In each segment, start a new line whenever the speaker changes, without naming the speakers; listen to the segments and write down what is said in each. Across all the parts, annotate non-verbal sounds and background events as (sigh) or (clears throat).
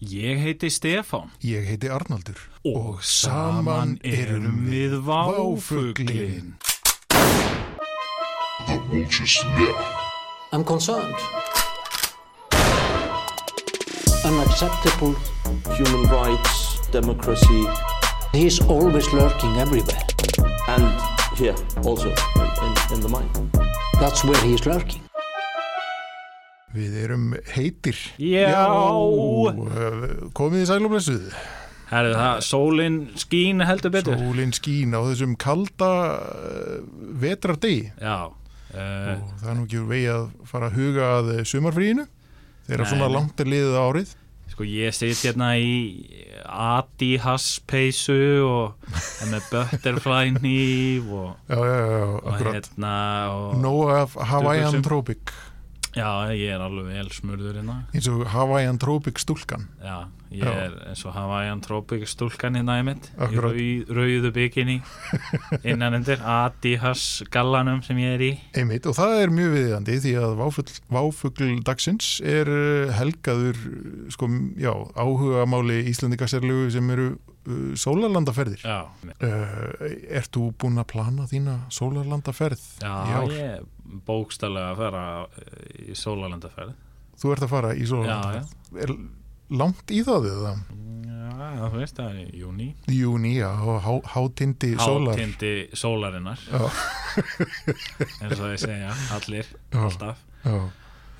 Ég heiti Stefán
Ég heiti Arnaldur
og saman erum við Váfuglin.
I'm concerned. Unacceptable.
human rights, democracy,
He's always lurking everywhere.
and here also in, in, in the mind.
That's where he's lurking.
Við erum heitir
Já.
Já, Komið í sælumlessuð
Herðu það, sólinn skín heldur betur.
Sólinn skín á þessum kalda eh, vetrardegi
Já, uh,
og það er nú ekki úr vegi að fara að huga að eh, sumarfríinu þegar
Nei.
svona langt er liðið á árið
sko ég sit hérna í Adidas peysu og er með butterfly nýf og,
Já, já, já, já,
og
akkurat
hérna og
Nóa af Hawaiian
Dufuxum.
Tropic
já, ég er alveg vel smurður hérna.
eins og Hawaiian Tropic stúlkan
Já, ég
Já.
er eins og Hawaiian Tropic stúlkan hérna í mitt í
Akkurat.
rau, rauðu bygginni innan undir Adidas gallanum sem ég er í.
Einmitt, og það er mjög viðjandi því að váfugl, váfugl dagsins er eh, helgaður eh, sko, já, áhugamáli íslendingasérlegu sem eru uh, sólarlandaferðir.
Já,
Uh, ert þú búin að plana þína sólarlandaferð?
Já,
í ár?
ég er bókstallega að fara eh, í sólalandaferð.
Þú ert að fara
Já,
í
já.
sólarlandaferð. Er langt í það eða?
Já, það veist, það er í júni.
Júni, já, og há, hátindi sólar.
Hátindi sólarinnar.
Já.
En svo ég segja, allir,
Já.
alltaf.
Já.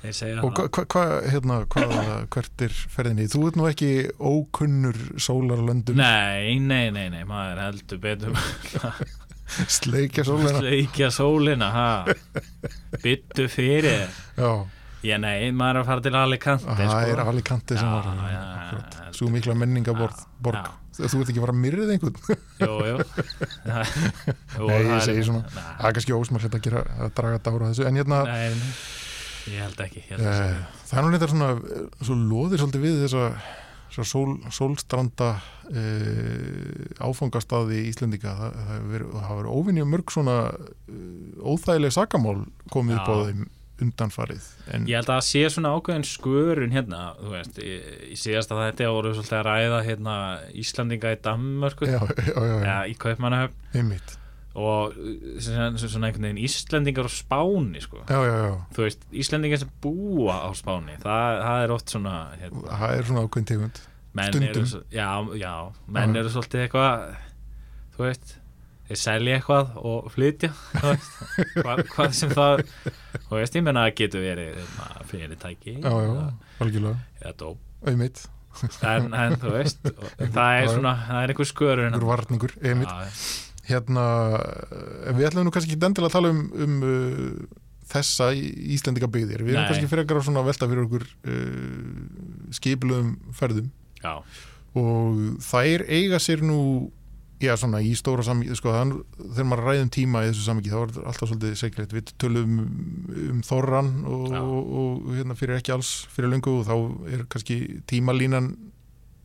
Þeir segja
Og hvað, hva, hva- hérna, hvað, hvert er ferðinni? Þú ert nú ekki ókunnur sólarlöndum
Nei, nei, nei, nei, maður heldur betur að
sleikja sólarna.
sleikja sólina, ha? Byttu fyrir. þér.
Já.
Já, nei, maður er að fara til Alicante, sko.
Það er Alicante sem
Já,
var
já, já,
akkurat.
heldur
svo mikla menningaborg
Já,
borg. Þú ert ekki að fara að myrðið
(laughs)
einhvern
Jú,
(laughs)
jú. Það- jú,
Nei,
það
ég
er-
segi svona
Nei,
Það er kannski ósmælt að gera að draga dára þessu En hérna,
nei, nei. ég held ekki, ég held ekki.
eh, það er nú reyndar svona eh, svo loðir svolítið við þessa, þessa sól, sólstranda eh, áfangastaði í Íslendinga Það, það hefur verið- það hafa verið óvinnjum mörg svona eh, óþægileg sakamál komið upp á
Já.
þeim undanfarið En
Ég held að það sé svona ákveðin skörun hérna, þú veist, í, í síðasta þetta voru svolítið að ræða hérna Íslandinga í Danmörku,
já, já, já, já,
eða í Kaupmannahöfn
einmitt
og uh, svona svona einhvern veginn Íslandingar á Spáni, sko.
Já, já, já,
Þú veist, Íslandingar sem búa á Spáni, það, það er oft svona, hérna,
það er svona ákveðin tegund
menn
Stundum.
eru, svo- já, já, menn
Já.
eru svolítið eitthvað, þú veist, þeir selja eitthvað og flytja, þú veist, hvað, hvað sem það, þú veist, ég menna að getur verið hérna, fyrirtæki
Já, já,
eða-
algjörlega
eða dóp
einmitt,
en, en þú veist það
Já,
er
já.
svona, það er einhver skörun
einhver varningur einmitt.
Já,
hérna, eh, við ætlum nú kannski ekki endilega að tala um, um uh, þessa íslendika byggðir, við erum
Nei.
kannski frekar að svona velta fyrir okkur uh, skipluðum ferðum
já,
og þær eiga sér nú já svona í stóra samíki sko, það er nú- þegar maður ræðum tíma í þessu samíki þá er þetta alltaf svolítið segilegt við tölum um þorran og,
Já.
og, og hérna fyrir ekki alls fyrir löngu og þá er kannski tímalínan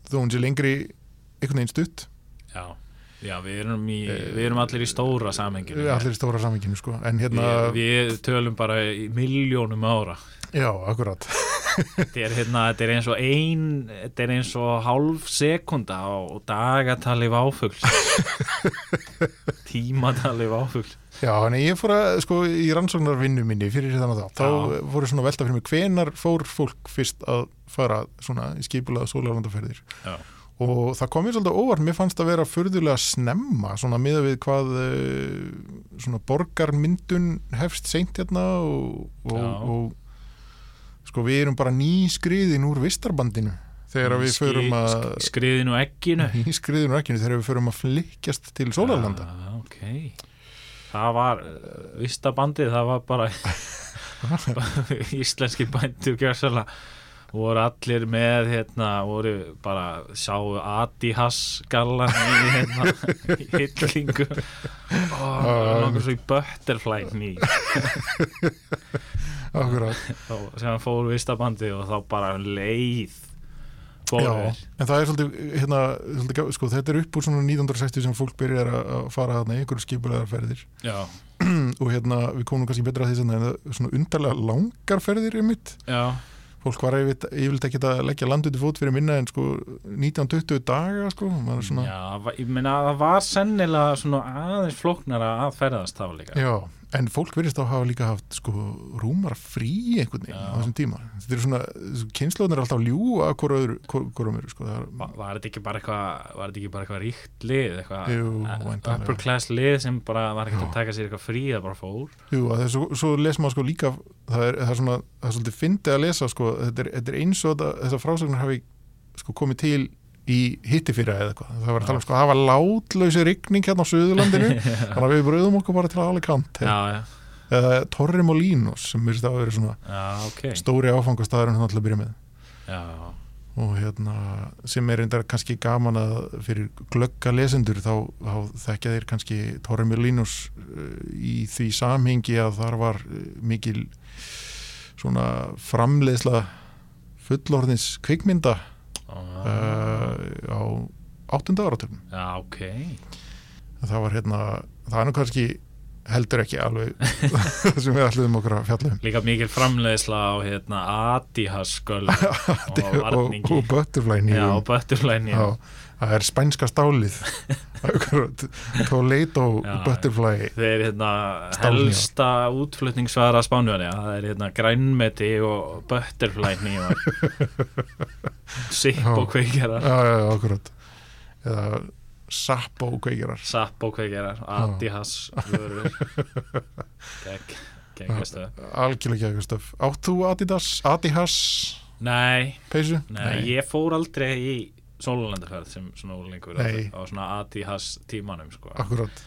þó hún sé lengri einhvern veginn stutt
já, já við, erum í, við erum allir í stóra samhenginu
Við allir í stóra saminginu sko en hérna,
við, við tölum bara í miljónum ára
já, akkurat
þetta er, hérna, þetta er eins og ein þetta er eins og hálf sekunda á dagatali
(laughs)
váfugl tímatali váfugl
já, en ég fór að, sko, í rannsóknarvinnu minni fyrir þannig að það,
Já.
þá fór ég svona að velta fyrir mig hvenar fór fólk fyrst að fara svona í skipulaða sólarlandaferðir
já,
og það kom mér svolítið á óvart, mér fannst að vera furðulega snemma, svona miða við hvað eh, svona borgarmyndun hefst seint hérna og,
Já.
og, og sko, við erum bara nýskriðin úr vistarbandinu þegar að við förum að
skriðinu og egginu
(laughs) í skriðinu ekkinu þegar við förum að flykkjast til Sólarlanda
Já, Ah, ok það var, vista bandið það var bara (laughs) íslenski bændur gjörsala voru allir með hérna, voru bara sáu Adidas gallan í hérna, í hillingu og
Ah.
langar svo í butterfly ný
Akkurat,
og sem hann fór vista bandið og þá bara um leið
já,
fóru þeir.
en það er svolítið, hérna, svolítið gaf- sko, þetta er upp úr svona 1960 sem fólk byrjar að að fara þarna í einhverjum skipulegar ferðir (clears throat)
já,
og hérna, við komum nú kannski betra að því sem það er svona undarlega langar ferðir um mitt
já
fólk var yfir- yfirleitt ekki að leggja landutu fót fyrir minna en sko 19-20 daga sko, maður er svona,
Já, va- ég meina það var sennilega svona aðeins flóknara að ferðast þá líka.
já, en fólk verðist þá hafa líka haft sko rúmar frí einhvern veginn á
Já.
þessum tíma þetta er svona, kynnslóðin er alltaf að ljúga hvora öðru, hvor, hvor öðru sko, það er,
Va- Var þetta ekki bara eitthvað, var þetta ekki bara eitthvað ríkt lið, eitthvað
Jú,
eh,
væntanlega.
upper class lið sem bara var ekkert að taka sér eitthvað frí það bara (laughs) fór.
Jú, að þessu, svo les maður sko líka það er, það er svona, það er svolítið fyndið að lesa sko, þetta er, þetta er eins og þetta, þessar frásagnar hafi sko komið til í hittifýra eða eitthvað, það var að tala um sko að hafa látlausi rigning hérna á
(laughs)
Suðurlandinu þannig að við bröðum okkur bara til aðalega kant
Já, já,
eða Torri Molinos sem virðist að vera svona
já, ok.
stóri áfangastæðurinn hann alltaf að byrja með
Já,
og hérna sem er reyndar kannski gaman að fyrir glögga lesendur þá, þá þekkja þeir kannski Tormur Linus eh, í því samhengi að þar var eh, mikil svona framleiðsla fullorðins kvikmynda uh,
já,
á áttunda áratöfnum
já, ok.
það var hérna, það er nú kannski heldur ekki
(laughs)
alveg það sem við ætluðum okkur að fjalla um
Líka mikil framleiðsla á hérna (laughs)
(laughs)
Adidas-sköl og
og,
varningi.
og butterfly
Já,
nýjum
og bötturlæni.
Já, það er spænska
(laughs)
stálið Akkurat, Toledo
Já, (laughs)
Butterfly
Þeir eru hérna
Stálhnífar.
helsta útflutningsvara spánverja það er hérna grænmeti og butterfly nýjar (laughs) sipp og kveikjarar
Já, já, akkurat eða Sappo kveikjarar
sapp og kveikjarar, adihas
(laughs)
vörur gegg geggastu
algjörlega ekki stöf Átt þú Adidas, Adihas
nei,
peysu?
nei, ég fór aldrei í sólulandarferð sem svona úrlingur
Nei.
á
Ah.
svona adihas tímanum sko.
Akkurat,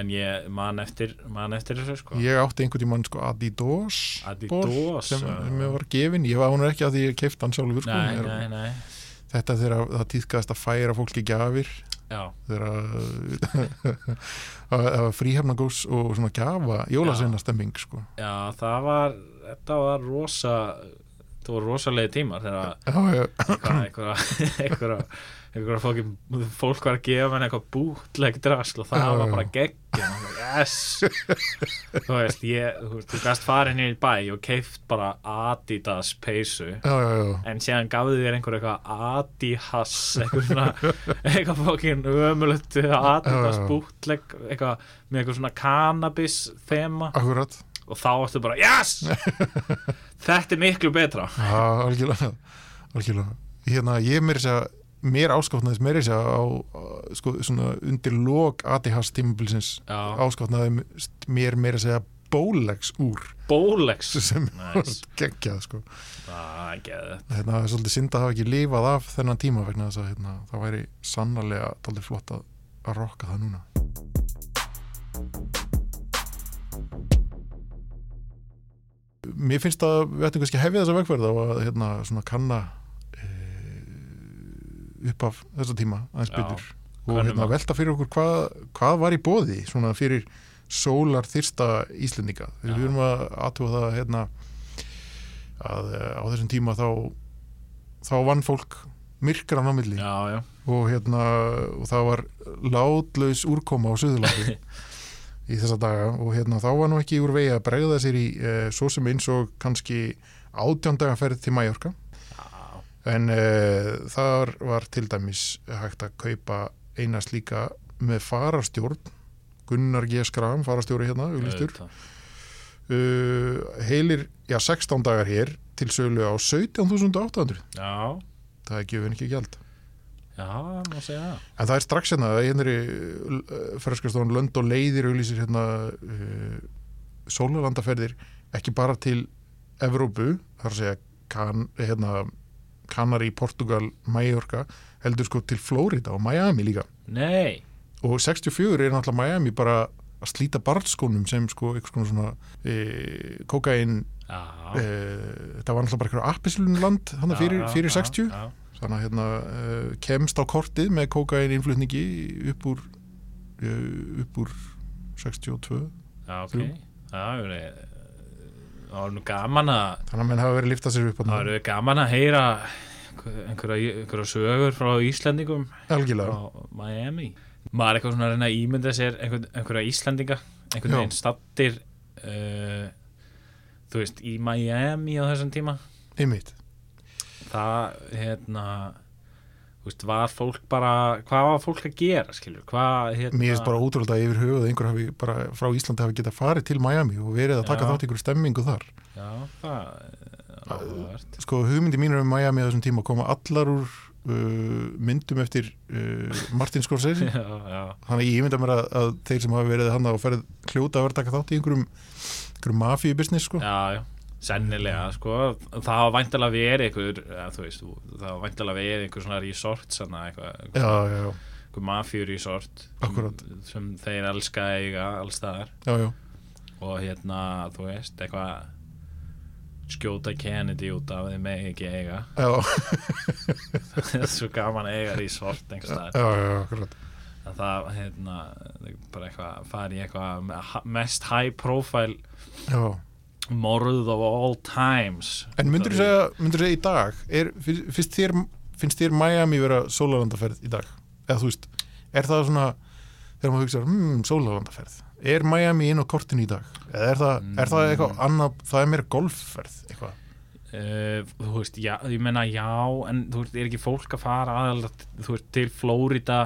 en ég man eftir, man eftir þessu sko.
ég átti einhvern tímann sko Adidos
Adidas,
ból sem
já.
sem mér var gefin, ég var hún ekki að því ég keifti hann sjálfur sko.
nei,
Mér-
nei, nei
Þetta þegar það týðkaðist að færa fólki gjafir
já,
þegar að- (laughs) að það var fríhefnagós og svona gjafa jólasegna stemming sko.
Já, það var, þetta var rosa, þetta voru rosalegi tímar þegar
Já, já,
eitthvað, einhverja, einhverja, einhverja fólk, fólk var að gefa henni eitthvað bútleg drasl og það
Já,
var
já.
bara geggjum, yes, þú veist, ég, þú veist, þú gast farin í bæ og keift bara Adidas peysu
já, já, já.
en séðan gafði þér einhver eitthvað Adidas eitthvað svona eitthvað fókin ömulegt Adidas
Já, já, já.
bútleg eitthvað með eitthvað svona cannabis þema
Akkurat,
og þá ertu bara
(laughs)
yes þetta er miklu betra
Já, algjörlega, algjörlega. Hérna, ég meiri segja, mér áskotnaðist meiri segja á, á, sko, svona undir lok ADHS tímabilsins
Já.
áskotnaðist mér meiri segja bólegs úr
Bólex
sem
Nice.
geggjað, sko.
það er geðið
Hérna, það er svolítið synd að hafa ekki lifað af þennan tíma vegna þess að hérna, það væri sannarlega daldið flott að, að rokka það núna. Mér finnst að við ættum kannski að hefja þessa vegferð á að hérna, svona kanna e, upp af þessa tíma aðeins
Já,
betur og
könnum
hérna,
það.
velta fyrir okkur hvað, hvað var í bóði svona fyrir sólar þyrsta Íslendinga.
Já.
Við erum að aðtúa það hérna, að eh, á þessum tíma þá þá vann fólk myrkran á milli
já, já,
og hérna og það var látlaus úrkoma á Suðurlandi í þessa daga og hérna þá var nú ekki úr vegi að bregða sér í eh, svo sem eins og kannski átjóndagaferð til Mallorca en eh, þar var til dæmis hægt að kaupa eina slíka með farastjórn Gunnar G. Skram, farastjóri hérna,
Eh,
auglýstur
auðvitað.
uh, heilir, já 16 dagar hér til sölu á 17.800
já,
það er gjöfin ekki gjald
já, má segja það
en það er strax hérna, hérna er í ferskastofan lönd og leiðir auðlýsir hérna uh, sólalandaferðir ekki bara til Evrópu, þar að segja kan, hérna, Kanari, Portugal, Mallorca heldur sko til Flórida og Miami líka
nei,
og 64 er náttúrulega Miami bara að slíta barnskónum sem sko eitthvað svona, svona e, kokain
já
Eh, þetta var náttúrulega bara eitthvað appislunland hann
já,
fyrir,
já,
fyrir
já,
60
já,
þannig að hérna uh, kemst á kortið með kókain innflutningi upp úr uh, upp úr 62
já, ok
Þrjú.
það er verið það var nú gaman að
þannig að menn hafa verið að lifta sér upp
það
hann
var gaman að heyra einhverja, einhverja sögur frá Íslendingum
algjörlega,
frá Miami maður er eitthvað svona að reyna að ímynda sér einhver, einhverja Íslandinga einhvern
Já.
veginn eh, stattir uh, þú veist, í Miami á þessum tíma
einmitt
það, hérna þú veist, var fólk bara hvað var fólk að gera, skilur hvað, hérna,
Mér er bara ótrúlega að yfir höfuð að einhver hafi bara frá Íslandi hafi getað farið til Miami og verið að taka
Já.
þátt í ykkur stemmingu þar.
já, það er áhugavert
Sko, hugmyndi mínur um Miami á þessum tíma koma allar úr uh, myndum eftir uh, Martin Scorsese.
já, já,
Þannig að ég mynda mér að, að þeir sem hafi verið hann á ferð hljóta að vera að taka þátt í einhverjum, einhverjum mafíu-business, sko.
já, já sennilega, sko, það var væntalega verið einhver, ja, þú veist, þú- það var væntalega verið einhver svona resort, svona eitthvað
Já, já, já.
einhver mafjur resort
Akkúrat.
sem þeir elska að eiga allstaðar
já, já.
og hérna, þú veist, eitthvað skjóta Kennedy út af þeim megi ekki eiga (laughs)
Já,
það (laughs) er svo gaman að eiga resort einhvers staðar.
já, já, akkurat
En það, hérna, bara eitthvað fari í eitthvað me- mest high profile
já.
morð of all times
En myndur þú
Það er-
segja, myndur segja í dag er, fyrst, fyrst þér, finnst þér Miami vera sólarlandaferð í dag? Eða þú veist, er það svona þegar maður hugsa, hmm, sólarlandaferð er Miami inn á kortinu í dag? Eða er það, er það
Mm.
eitthvað annað það er meira golfferð, eitthvað
Uh, þú veist, já, ég menna já en þú veist, er ekki fólk að fara aðal, þú veist, til Flórida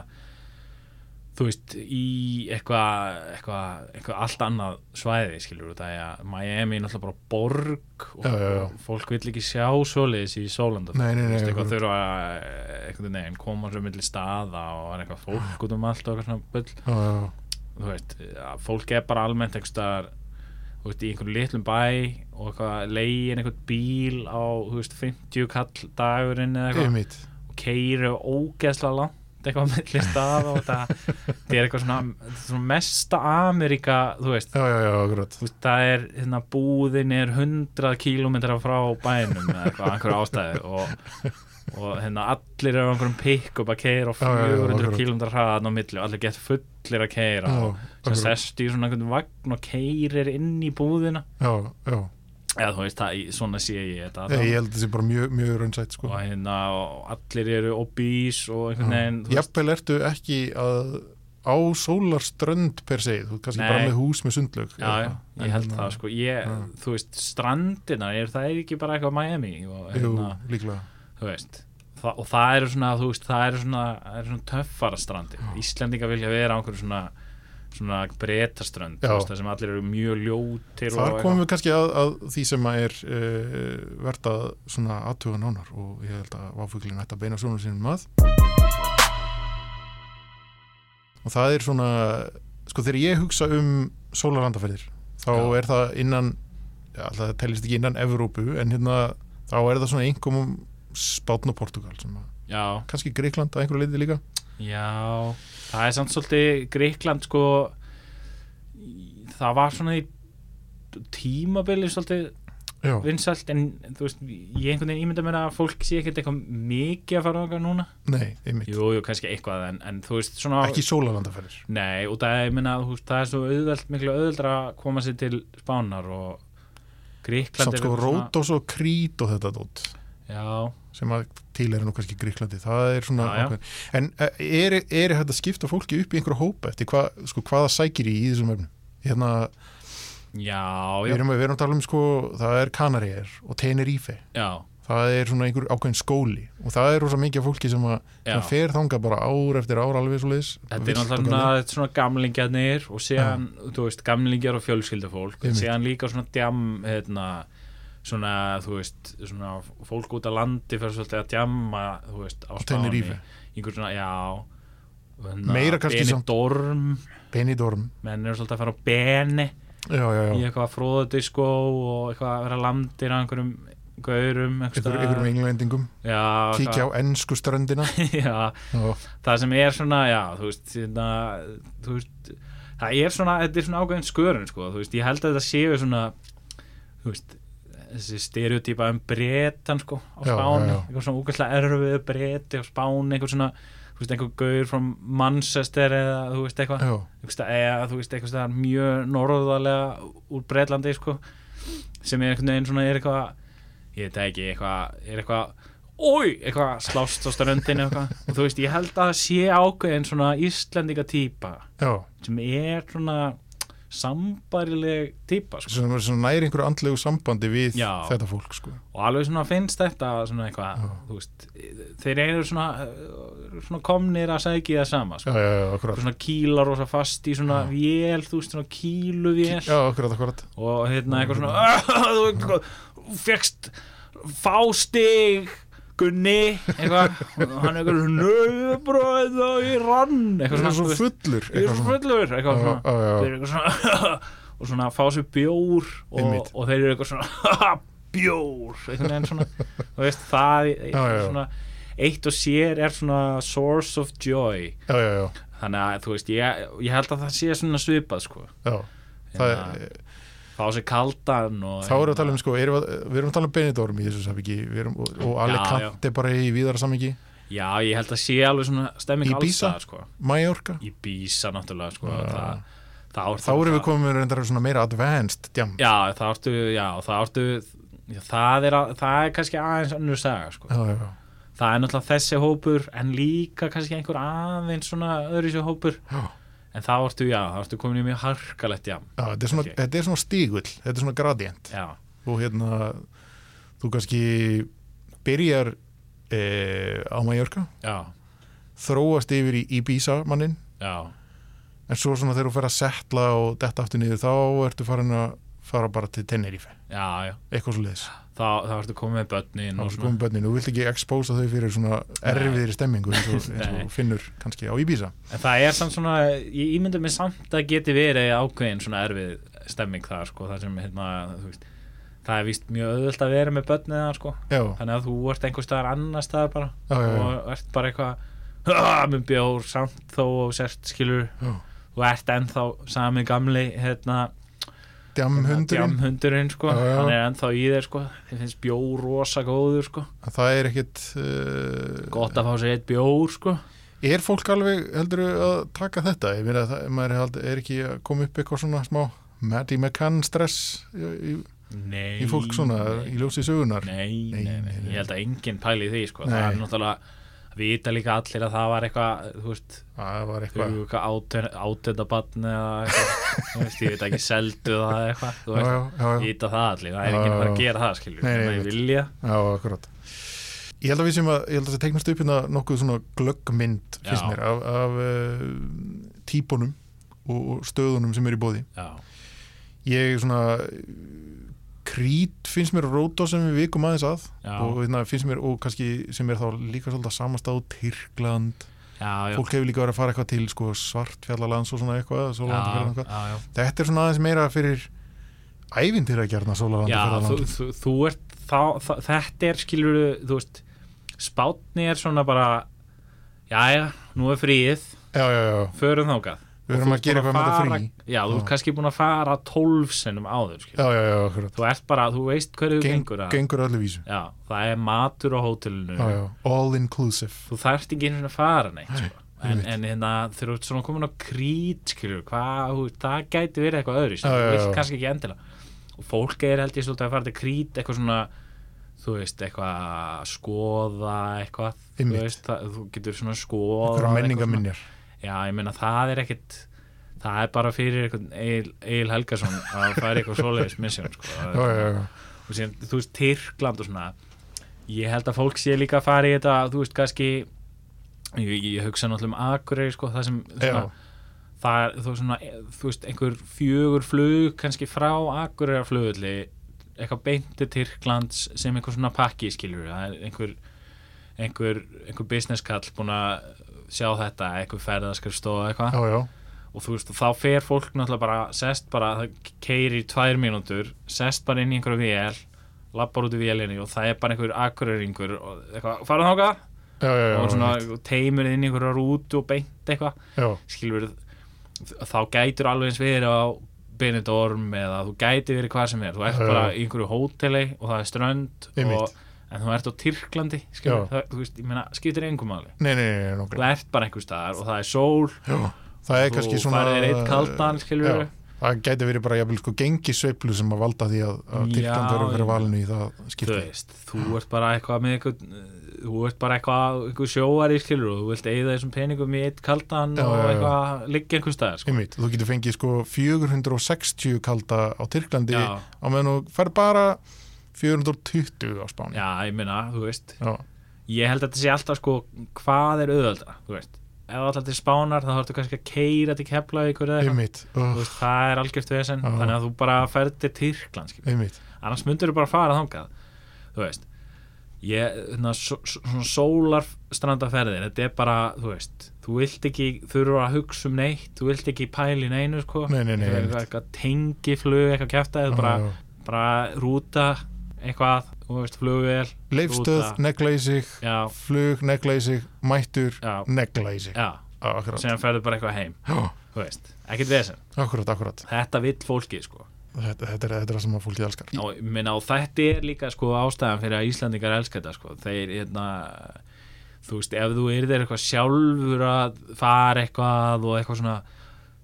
þú veist, í eitthvað eitthva, eitthva allt annað svæði, skilur þú, það er að Miami er náttúrulega bara borg og,
Já, já, já.
og fólk vill ekki sjá svoleiðis í Sólanda,
Nei, nei, nei,
eitthvað
akkurat.
þurfa að, eitthvað neginn, koma svo milli staða og það er eitthvað fólk út um allt og eitthvað svona bull
Já, já, já.
þú veist, að fólk er bara almennt einhvers staðar, þú veist, í einhverjum litlum bæ og eitthvað leiðin einhvern bíl á, þú veist, 50 kall dagurinn eða eitthvað
Einmitt.
og keyri ógeðslega langt eitthvað með listað og það, það er eitthvað svona, svona mesta Ameríka, þú veist,
Já, já, já, akkurat
þú veist, það er, hérna, búðin er 100 kílómetra frá bænum eða eitthvað, einhverju ástæðu og, og hérna, allir eru á einhverjum pikk upp að keira og
Já, já, já,
400
akkurat.
kílómetra hraðan á milli og allir gett fullir að keira
Já,
og sem
akkurat.
sestu í svona einhvern vagn og keirir inn í búðina
Já, já,
eða þú veist, það, svona sé ég þetta
Nei, ég held að það sé bara mjög, mjög raunnsætt sko.
og hérna, og allir eru obís og einhvern veginn þú veist,
Jafnvel ertu ekki að á sólarströnd per se, þú ert kannski
Nei.
bara með hús með sundlög
já, já, ég held
hérna,
það sko ég, þú veist, strandina er, það er ekki bara eitthvað Miami og,
Jú,
hérna,
líklega
þú veist Þa, og það eru svona, þú veist, það eru svona, það eru svona töffara strandir, Íslendinga vilja vera á einhverju svona, svona breytaströnd,
Já.
þú veist, það sem allir eru mjög ljótir
Þar
og
komum við kannski að, að því sem að er uh, verðt að svona aðtuga nánar og ég held að váfuglinn ætti að beina svona sínum að og það er svona sko þegar ég hugsa um sólarlandaferðir þá
Já.
er það innan já, alltaf það telist ekki innan Evrópu en hérna þá er það svona einhverjum um Spátn og Portugal sem að,
Já,
kannski Greikland að einhverju leiti líka
já það er samt svolítið Greikland sko í- það var svona í tímabili svolítið
já,
vinsælt en þú veist, ég einhvern veginn ímynda mér að fólk sé ekkert eitthvað mikið að fara okkar núna
nei, einmitt,
Jú, jú, kannski eitthvað en, en þú veist, svona
ekki sólarlandaferðir
Nei, og það, ég meina, þú veist, það er svo auðveld, miklu auðveldra að koma sér til Spánar og Gríkland
samt sko Rótos og Krít og þetta dót
Já,
sem að til er nú kannski Gríklandi það er svona
Já, já.
ákveðin. en eh, er, er þetta að skipta fólki upp í einhverja hópa eftir hva, sko, hvað það sækir í í þessum efnum hérna,
já,
við
já,
erum, við erum að tala um sko, það er Kanaríðar og Tenerife
já,
það er svona einhver ákveðin skóli og það er rosa mikið af fólki sem, að,
Já.
sem fer þanga bara ár eftir ár alveg svo leis
þetta er náttúrulega svona, þetta er svona gamlingjarnir og síðan, þú veist, gamlingjar og fjölskyldufólk
Einmitt.
síðan líka svona djam, hérna, svona, þú veist, svona fólk út af landi fyrir svolítið að djamma, þú veist, á Spáni
Tenerife.
Einhver svona, já, hérna,
Meira kannski samt-
Benidorm,
Benidorm
menn eru svolítið að fara á Beni
já, já, já.
í eitthvað fróðadiskó og eitthvað að vera landir á einhverjum gaurum
Ykkur, ykkur með englendingum,
já,
kíkja á ennsku ströndina
það, (laughs) já,
Já,
það sem er svona já, þú veist, hérna, þú veist það er svona, þetta er svona ágæðin skörun sko, þú veist, ég held að þetta séu svona þú veist þessi stereotypa um bretan sko á
Já,
Spáni,
já, já.
eitthvað svona úkvæslega erfið breti á Spáni, eitthvað svona þú veist, einhver gaur frá Manchester eða þú veist eitthvað
já,
einhvers staðar- eða þú veist eitthvað staðar mjög norðalega úr Breitlandi sko, sem er einhvern veginn svona er eitthvað, ég veit það ekki eitthvað, er eitthvað, oi eitthvað slást á ströndinu eitthvað og þú veist, ég held að það sé ákveðin svona Íslendinga típa
já,
sem er svona sambarileg típa sko.
sem, sem næri einhverju andlegu sambandi við
Já.
þetta fólk sko.
og alveg svona finnst þetta svona eitthvað, þú veist þeir eru svona, eh, svona komnir að segja það sama
já,
sko.
já, já, akkurat
svona kýlar og svo fast í svona vél þú veist, svona kýluvél
já, akkurat, akkurat
og hérna eitthvað svona "Ah, þú eitthvað, fegst fástig Gunni eitthvað, og hann eitthvað nöðubróð og ég rann
það
eitthvað
er
þú
svo
veist,
fullur
ég er svo
svona.
fullur eitthvað
Já,
svona,
já, já.
þeir eru eitthvað svona (laughs) og svona fá sér bjór og,
Einmitt.
og þeir eru eitthvað svona (laughs) bjór einhvern veginn svona þú veist það
Já, já, já.
svona, eitt og sér er svona source of joy
já, já, já,
þannig að þú veist ég, ég held að það sé svona svipað sko
já. Það,
Hérna, fá sér kaldan og,
þá erum við að tala um sko, erum, við- við erum að tala um Benidorm í þessu samviki og, og Alicante bara í víðara samviki
já ég held að sé alveg svona stemming alls
Ibiza?
staðar, sko.
Mallorca,
í bísa náttúrulega sko. það, það
þá erum við komin með reyndar svona meira advanced jam
já það ertu, já, það, ertu já, það, er, að- það er kannski aðeins önnur saga sko.
já, já, já.
það er náttúrulega þessi hópur en líka kannski einhver aðeins svona öðru sér hópur
Já.
en þá ertu, já, þá ertu komin í mjög harkalegt já,
Já, þetta, er svona,
Ok.
þetta er svona stígull, þetta er svona gradient
já,
og hérna þú kannski byrjar eh, á Mallorca
já,
þróast yfir í Ibiza mannin
já.
en svo svona þegar þú fer að setla og detta aftur niður þá ertu farin að fara bara til Tenerife,
já, já.
eitthvað svo leiðis
Þá, þá ertu komin með börnin
þá
og
er
svona
komið bönnin, þú vilt ekki expósa þau fyrir svona erfiðri stemmingu eins og, eins
Nei.
og finnur kannski á Ibiza
En það er samt svona, ég ímynda mér samt að geti verið ákveðin svona erfið stemming þar sko, það sem hérna, þú veist, það er víst mjög auðvöld að vera með börnið það sko,
já,
þannig að þú ert einhver staðar annar staðar bara
Já, já, já.
og ert bara eitthvað "Ah, með bjór samt þó og sért skilur,
Já.
þú ert ennþá sami gamli, hérna,
djamhundurinn
djamhundurinn sko,
Um Já, já.
hann er ennþá í þér sko, þið finnst bjór rosa góður sko,
það er ekkit uh,
gott að fá sér eitt bjór sko,
Er fólk alveg heldur að taka þetta? Ég meina að það- maður er, hald, er ekki að koma upp eitthvað svona smá Maddie McCann stress í, í,
nei,
í fólk svona
nei.
í ljósi sögunar
nei, nei,
Nei,
nei,
nei, nei.
ég held að enginn pæli í því sko.
Nei.
það er náttúrulega vita líka allir að það var eitthvað þú veist,
Það var
þau
eitthvað
eru eitthvað átöndabatn eða eitthvað, þú veist, ég veit ekki seldu það eitthvað, þú
Já,
veist,
já, já, já,
vita það allir það er enginn
Já,
að fara
já.
að gera það, skilur
Nei, nei,
nei,
ég
nei,
veit.
vilja,
já, akkurat Ég held að við sem að, ég held að það teiknast upp hérna nokkuð svona glöggmynd finnst
Já.
mér af, af uh, típunum og, og stöðunum sem er í bóði
já,
Ég svona krít finnst mér róta sem við vikum aðeins að
Já.
og hérna, finnst mér og kannski sem er þá líka svolítið samastáð Tyrkland
já, já
fólk hefur líka verið að fara eitthvað til sko, svartfjallalands og svona eitthvað,
já,
eitthvað.
já, já,
þetta er svona aðeins meira fyrir ævintýra gerna
já þú,
sólalandaferðaland
þú, þú ert þá, þá, þetta er skilur þú veist, spátni er svona bara já, já, nú er fríið
já, já, já,
förum þákað
við erum að gera eitthvað með þetta frí
Já, þú ert
Já.
kannski búin að fara tólf sinnum áður skilur.
já, já, já, akkurat
Þú ert bara, þú veist hverju þú
Geng,
gengur að
gengur öllu vísu
Já, það er matur á hótelinu
já, já. all inclusive
Þú þarft ekki einhvern veginn að fara neitt sko. En,
einmitt.
en hérna, þegar þú ert svona komin á krít skilur, hvað, þú- það gæti verið eitthvað öðru
Já,
Þú
já,
vilt
já.
kannski ekki endilega Og fólk er held ég svolítið að fara til krít eitthvað svona þú veist, eitthvað að skoða eitthvað, þú
Einmitt.
veist, það, þú getur svona skoða
það eru menningaminjar
Já, ég meina það er ekkit það er bara fyrir einhvern Egil, Egil Helgason að fara í eitthvað svoleiðis misjón sko.
já, já, já,
og síðan, þú veist, Tyrkland og svona ég held að fólk sé líka að fara í þetta þú veist, kannski ég, ég hugsa náttúrulega um Akureyri sko, það sem svona,
Já.
það er, þú, svona, e- þú veist, einhver fjögur flug kannski frá Akureyra flugulli eitthvað beinti Tyrklands sem einhver svona pakki skilur það er einhver einhver, einhver business kall búin að sjá þetta, einhver ferðaskrifstofa eitthvað
já, já,
og þú veist, og þá fer fólk náttúrulega bara, sest bara, það keiri í tvær mínútur, sest bara inn í einhverju vél, lappar út í vélinni og það er bara einhver akureyringur og eitthvað, fara þáka,
já, já, já,
og svona
já,
og teimur inn í einhverju rútu og beint eitthvað,
já,
skilur þá gætur alveg eins verið á Benidorm eða þú gæti verið hvað sem er, þú ert
Já, já.
bara í einhverju hóteli og það er strönd
Einmitt.
og, en þú ert á Tyrklandi, skilur,
Já.
það, þú veist, ég meina, skiptir engum máli,
nei, nei, nei, nei nokkuð.
þú ert bara einhver staðar og það er sól
já, það er
Þú
kannski svona
færðir eitt kaldan, skilurðu.
já, það gæti verið bara jafnvel sko gengisveiflu sem að valda því að, að
Já,
Tyrkland verður
já.
fyrir valinu í það
þú
skipti
veist, sko. þú ert bara eitthvað með eitthvað, þú ert bara eitthvað, eitthvað sjóar í skilur og þú vilt eigða þessum peningum í eitt kaldan
Já,
og
já, já.
eitthvað liggja einhvers staðar sko.
Einmitt, þú getur fengið sko 460 kalda á Tyrklandi
Já.
á meðan þú fær bara 420 á Spáni
Já, ég meina, þú veist
Já.
ég held að þetta sé alltaf sko hvað er auðvöldra, þú veist ef þú alltaf til spánar þá þarftu kannski að keira til kepla ykkur eða eitthvað,
Einmitt, oh,
þú veist, það er algjört vesen,
Já.
þannig að þú bara ferð til Tyrkland, skilur,
einmitt
annars myndur þú bara fara þangað, þú veist ég, þannig svona sólarstrandaferðir, þetta er bara þú veist, þú vilt ekki þurfa að hugsa um neitt, þú vilt ekki pæli neinu sko,
Nei, nei, nei,
Eitthvað-
einmitt.
eitthvað tengiflug, eitthvað kæfta eða bara,
Já, já.
bara rúta eitthvað, þú veist, flugvél
Leifstöð,
rúta.
negla í sig
Já,
flug, negla í sig, mættur
já,
negla í sig
já,
Já, akkurat,
sem ferðu bara eitthvað heim
Já,
þú veist, ekkert vesen,
akkurat, akkurat.
þetta vill fólkið sko
Þetta, þetta, er, þetta er það sem að fólkið elskar
og, ég meina, og þetta er líka sko ástæðan fyrir að Íslandingar elska þetta sko þeir, hérna þú veist, ef þú er þeir eitthvað sjálfur að fara eitthvað og eitthvað svona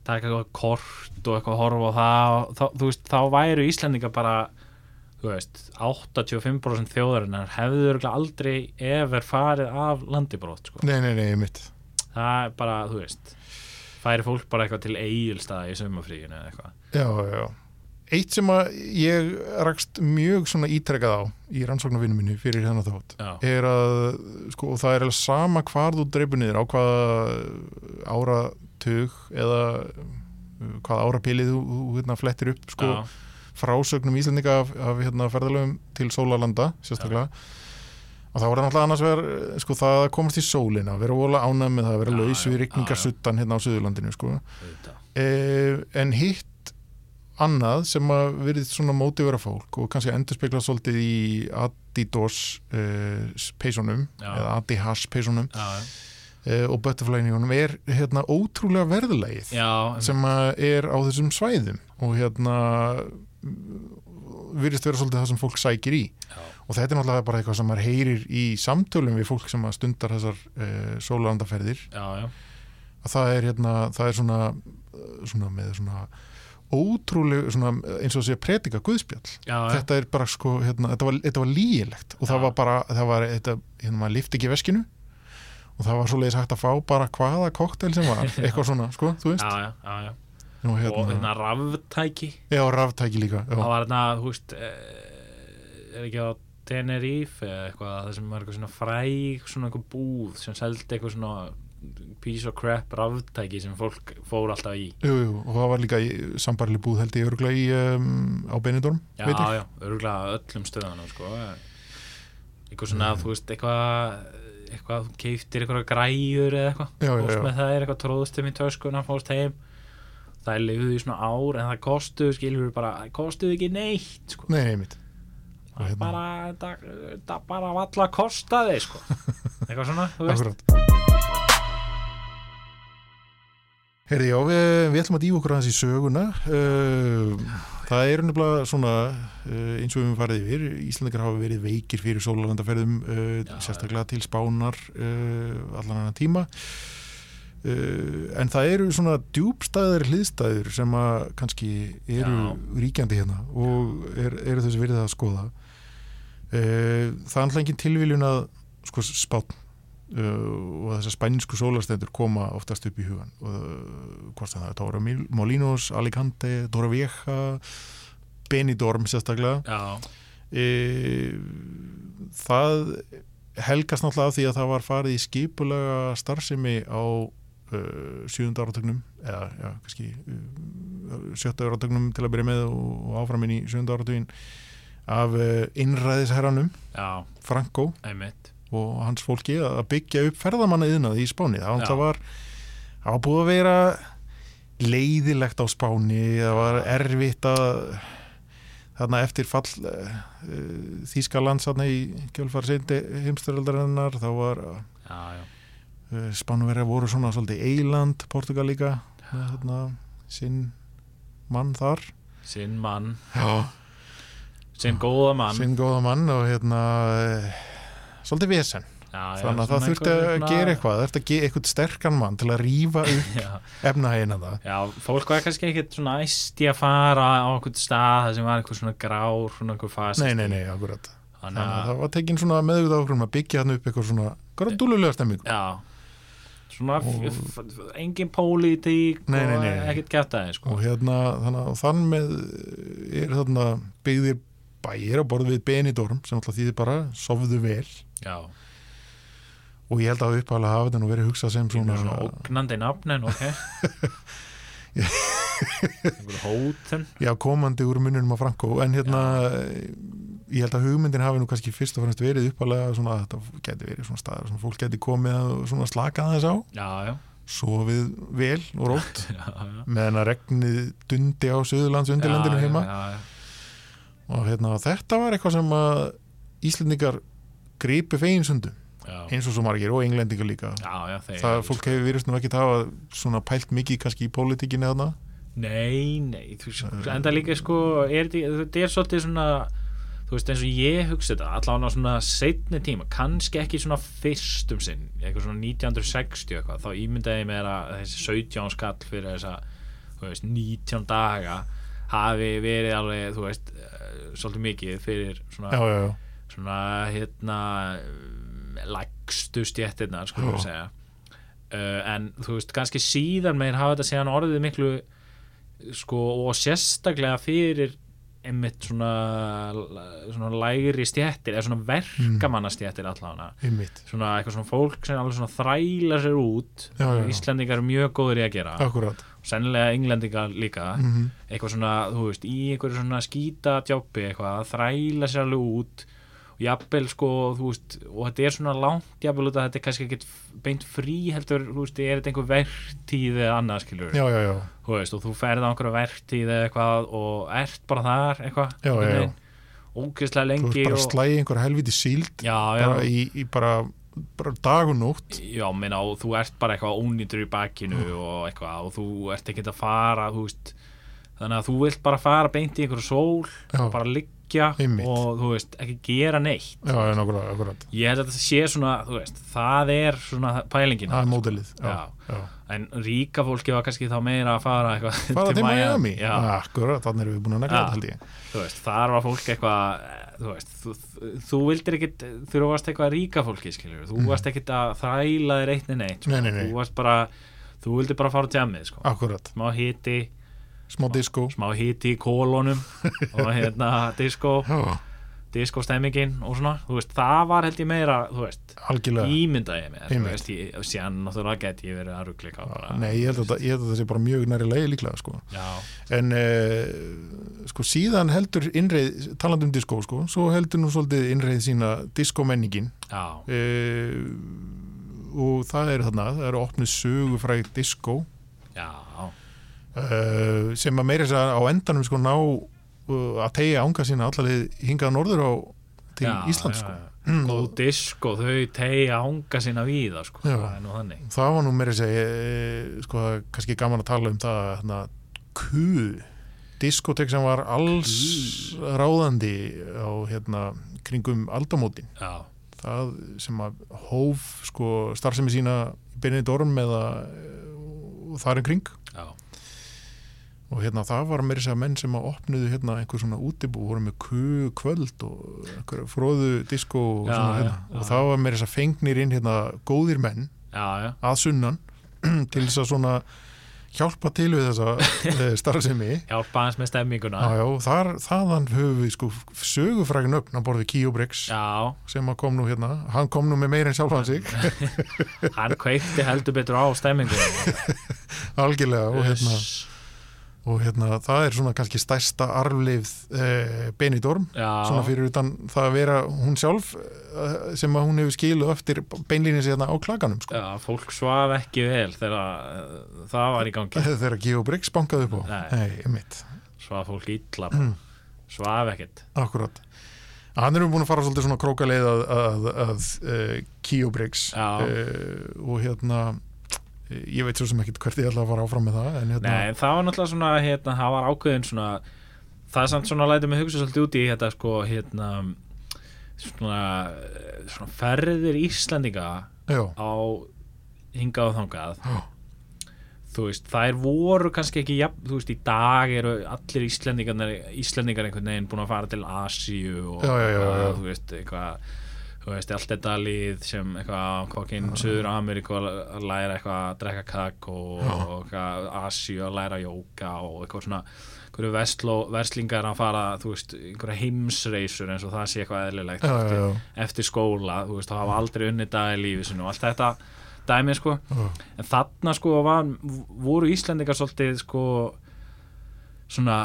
taka eitthvað kort og eitthvað horfa á það og þá, þú veist, þá væru Íslandingar bara þú veist, 85% þjóðarinnar hefðu örugglega aldrei efer farið af landibrót sko.
Nei, nei, nei, einmitt
það er bara, þú veist færi fólk bara eitthvað til eigilstaða í sumafríinu eða eitthvað
Já, já, já Eitt sem að ég rakst mjög svona ítrekkað á í rannsóknarvinnu minni fyrir þennan þátt
Já.
er að, sko, og það er alveg sama hvar þú dreipur niður á hvaða áratug eða uh, hvaða árabilið þú, þú hérna, flettir upp sko,
Já,
frásögnum Íslandinga af, af hérna, ferðalöfum til sólalanda sérstaklega og það voru náttúrulega annars verið eh, sko, það að komast í sólina, vera ólega ánæð með það að vera
Já,
laus
já,
við
já,
rigningarsuttan hérna á Suðurlandinu sko.
auðvitað.
eh, en hitt annað sem að verið svona mótið vera fólk og kannski endurspegla svolítið í Adidas eh, peysunum
Já.
eða Adidas peysunum
já, já.
eh, og butterflyinu honum er hérna ótrúlega verðlegið
já
sem að er á þessum svæðum og hérna virðist vera svolítið það sem fólk sækir í
Já.
og þetta er náttúrulega bara eitthvað sem maður heyrir í samtölum við fólk sem að stundar þessar uh, sólandaferðir
já, já,
að það er hérna, það er svona eh, svona með svona ótrúleg, svona eh, eins og að segja predika guðspjall
já, já,
þetta er bara sko, hérna, þetta var, þetta var lígilegt og það
Já.
var bara, það var, þetta, hérna, maður lifti ekki veskinu og það var svoleiðis hægt að fá bara hvaða koktel
(laughs)
sem var, eitthvað svona, sko, þú veist
já, já, já, já.
Nú,
og hérna raftæki
Já, raftæki líka já.
það var hérna, þú veist eh, er ekki á Tenerife eða eitthvað, það sem var eitthvað svona fræg svona eitthvað búð sem seldi eitthvað svona piece of crap raftæki sem fólk fór alltaf í
Jú, jú, og það var líka sambarli búð held ég örgulega í, um, á Benidorm
já,
veit ég.
já, örgulega öllum stöðanum sko. eitthvað svona,
Mm.
þú veist eitthvað, eitthvað þú keiftir eitthvað græjur eða eitthvað
Já, já,
fórst
já.
með það er eitthvað tróðstum í töskuna fórst heim, það er lifðu í svona ár en það kostuðu, skilur bara það kostuðu ekki neitt sko.
Nei, einmitt og
það
hérna-
bara, það, það bara valla kostaði
(laughs)
sko. eitthvað svona, þú veist
Akkurat Herði, já, við, við ætlum að dýfa okkur aðeins í söguna uh, Það er nefnilega svona uh, eins og við höfum farið yfir Íslandingar hafa verið veikir fyrir sólalandaferðum uh,
Já,
sérstaklega til spánar uh, allan annan tíma uh, en það eru svona djúbstæðir hliðstæður sem að kannski eru ríkjandi hérna og er, eru þessi verið að skoða uh, Það er alltaf engin tilviljun að sko spátt uh, og þessar spænsku sólarstendur koma oftast upp í hugan og uh, hvort sem það er Tóra Mil- Molinos, Alicante, Tóra Vieja Benidorm sérstaklega
já,
e, það helgast náttúrulega af því að það var farið í skipulega starfsemi á uh, sjöunda áratögnum eða já, kannski uh, sjötta áratögnum til að byrja með og, og áframin í sjöunda áratögin af uh, innræðisherranum
já,
Franco
einmitt
og hans fólki að að byggja upp ferðamanna yðnaði í Spáni það var,
Já.
það var, það var búið að vera leiðilegt á Spáni það var erfitt að þarna eftir fall uh, Þýskalands þarna í kjölfar sendi heimstyraldarinnar þá var uh,
já, já,
Spánverja voru svona svolítið eiland, Portugal líka með þarna sinn mann þar
sinn mann,
Já.
sinn góða mann
sinn góða mann og hérna eh, svolítið vesen
já,
þannig að það
svona
þurfti
einhver hérna-
að
svona-
gera eitthvað það þurfti að gera eitthvað sterkan mann til að rýfa
(laughs)
upp
já,
efnahegina það
já, fólk var kannski ekkert svona æsti að fara á einhvern stað það sem var einhver svona grár svona einhver fast
nei, nei, nei, akkurat
Þannig
þannig að
að,
það var tekin svona meðvitað okkur um að byggja hann upp eitthvað svona hverja dúlulega stemmingu
já svona f- f- engin pólitík
Nei, nei, nei,
og
nei.
ekkert gæta þeim sko
og hérna, þannig að þann með eh, er þarna byggðir bæir á borð við Benidorm sem alltaf þýðir bara sofðu vel
já,
og ég held að upphæðlega hafa þetta nú verið hugsað sem
svona,
svona,
svona ógnandi nafnin
(laughs)
ok einhver hótun
já, komandi úr mununum á Franko en hérna, ég held að hugmyndin hafi nú kannski fyrst og fremst verið upphæðlega svona að þetta geti verið svona staðar sem fólk geti komið að svona slaka þess á
já, já,
sofið vel og
(laughs)
rótt
já, já.
meðan að regnið dundi á Suðurlands undirlandinu
Já,
heima
já, já, já.
og hérna, þetta var eitthvað sem að Íslendingar gripi feinsundum
Já,
eins og svo margir og englendingar líka
já, já, þeir
það fólk hefur virðist nú ekki hafa svona pælt mikið kannski í pólitíkinni þarna
Nei, nei, þú veist, enda líka sko, er, þetta- þetta er svolítið svona þú veist, eins og ég hugsa þetta allan á svona setni tíma, kannski ekki svona fyrstum sinn, eitthvað svona 1960 eitthvað, þá ímyndaði ég mér að þessi 17 skall fyrir þessa þú veist, 19 daga hafi verið alveg, þú veist eh, svolítið mikið fyrir svona
já, já, já,
svona hérna um, lægstu stjættirnar sko
Já.
við segja uh, en þú veist kannski síðan meir hafa þetta síðan orðið miklu sko og sérstaklega fyrir einmitt svona svona lægri stjættir eða svona verkamanna stjættir allavega
einmitt
svona eitthvað svona fólk sem alveg svona þræla sér út
Já, já, já.
Íslendingar eru mjög góður í að gera
akkurat
sennilega englendingar líka
Mhm.
eitthvað svona, þú veist, í einhverju svona skýta djópi eitthvað, að þræla sér alveg út og jafnvel sko, þú veist og þetta er svona langt jafnvel út að þetta er kannski ekkit beint frí heldur þú veist, er þetta einhver vertíð eða annað skilur,
já, já, já,
þú veist, og þú ferð á einhverju vertíð eða eitthvað og ert bara þar eitthvað,
Já, já, já.
ógeðslega
þú
lengi
ert bara
og-
að slægi einhver helviti síld
já, já,
bara í, í bara, bara dag og nótt
Já, minna, og þú ert bara eitthvað ónýtur í bakinu
Mm.
og eitthvað og þú ert ekkert að fara, þú veist þannig að þú vilt bara fara beint í einhverju sól
Já.
og bara liggja
Einmitt.
og þú veist, ekki gera neitt
já, já, akkurat, akkurat
ég held að þetta sé svona, þú veist, það er svona pælingin
það er mótilið já,
Já.
já.
en ríka fólki var kannski þá meira að fara eitthvað
fara til Miami,
Já,
akkurat, þannig erum við búin að negla
Já.
þetta held ég
þú veist, þar var fólk eitthvað eh, þú veist, þú, þú, þú vildir ekkit þú varst eitthvað ríka fólki, skiljur þú varst ekkit að þræla þér eitt neitt sko.
Mhm. Nei, nei, Ah. nei.
þú varst bara, þú vildir bara fara á tjammið, sko
akkurat,
smá hiti,
smá disco
smá hiti í
(laughs)
kólunum og hérna disco,
já,
disco stemmingin og svona, þú veist, það var held ég meira þú veist,
algjörlega
ímyndaði ég mér þú
Einmitt.
veist, ég, og síðan náttúrulega get ég verið að ruggleika bara,
Nei, ég held að, þetta- ég held að það sé bara mjög næri leið líklega sko.
já,
en uh, sko síðan heldur innreið, talandi um disco sko, svo heldur nú svolítið innreið sína diskomenningin
já,
uh, og það er þarna það eru opnið sögufræg disco
já
uh, sem að meira þess að á endanum sko ná uh, að tegja ánga sína allalið hingað norður á til
já,
Ísland
já,
sko
já. góð disco, þau tegja ánga sína víða, sko,
Já.
það er nú þannig
það var nú meira að segja eh, sko það er kannski gaman að tala um það hérna, Q diskotek sem var alls ráðandi á hérna kringum aldamótin
já,
það sem að hóf sko starfsemi sína í Benidorm eða eh, þar en kring
já,
og hérna það var meira að segja menn sem að opnuðu hérna einhver svona útibú voru með Q kvöld og einhver fróðu disko og,
Já,
svona,
já,
hérna.
já.
og það var meira að segja fengnir inn hérna góðir menn
já, já
að sunnan (clears throat) til þess að svona hjálpa til við
(laughs)
þessa eh, starfsemi
hjálpa hans með stemminguna
Já, já, þar, þaðan höfum við sko sögufrægin ögn á borði Kiobrix
já,
sem að kom nú hérna, hann kom nú með meira en sjálfan sig,
hann kveikti heldur betur á stemminguna
(laughs) algjörlega og (laughs) hérna,
Uss.
og hérna það er svona kannski stærsta arfleifð eh, Benidorm,
Já.
svona fyrir utan það að vera hún sjálf eh, sem að hún hefur skilu eftir beinlínis hérna á klaganum sko,
Já, fólk svaf ekki vel þegar uh, það var í gangi
þegar Kiobrix bankaði upp á,
Nei.
nei, mitt
svaf fólk illa
Mm.
bara. svaf ekkert
Akkurat. Hann erum búin að fara svolítið svona krókaleið að, að, að uh, Kiobrix
Já.
og hérna eh, ég veit svo sem ekkert hvert ég ætla að fara áfram með það en hérna,
Nei, en það var náttúrulega svona hérna, það var ákveðin svona það er samt svona lætið mig hugsa svolítið út í þetta sko hérna svona, eh, svona ferðir Íslandinga
já,
á hingað og þangað
já,
þú veist, þær voru kannski ekki jafn, þú veist, í dag eru allir Íslendingar, Íslendingar einhvern veginn búin að fara til Asíu og
Já, já, já, já.
þú veist, eitthvað þú veist, allt þetta lið sem eitthvað kokkinn Suður Ameríku að að læra eitthvað að drekka kakk og, og eitthvað Asíu að læra jóka og eitthvað svona einhverju vestló, verslingar að fara þú veist, einhverja heimsreisur eins og það sé eitthvað eðlilegt
Já, já,
eftir,
já.
eftir skóla, þú veist, þá hafa aldrei unni dag í lífi sinu og allt þetta dæmi sko en þarna sko var, voru Íslendingar svolítið sko svona,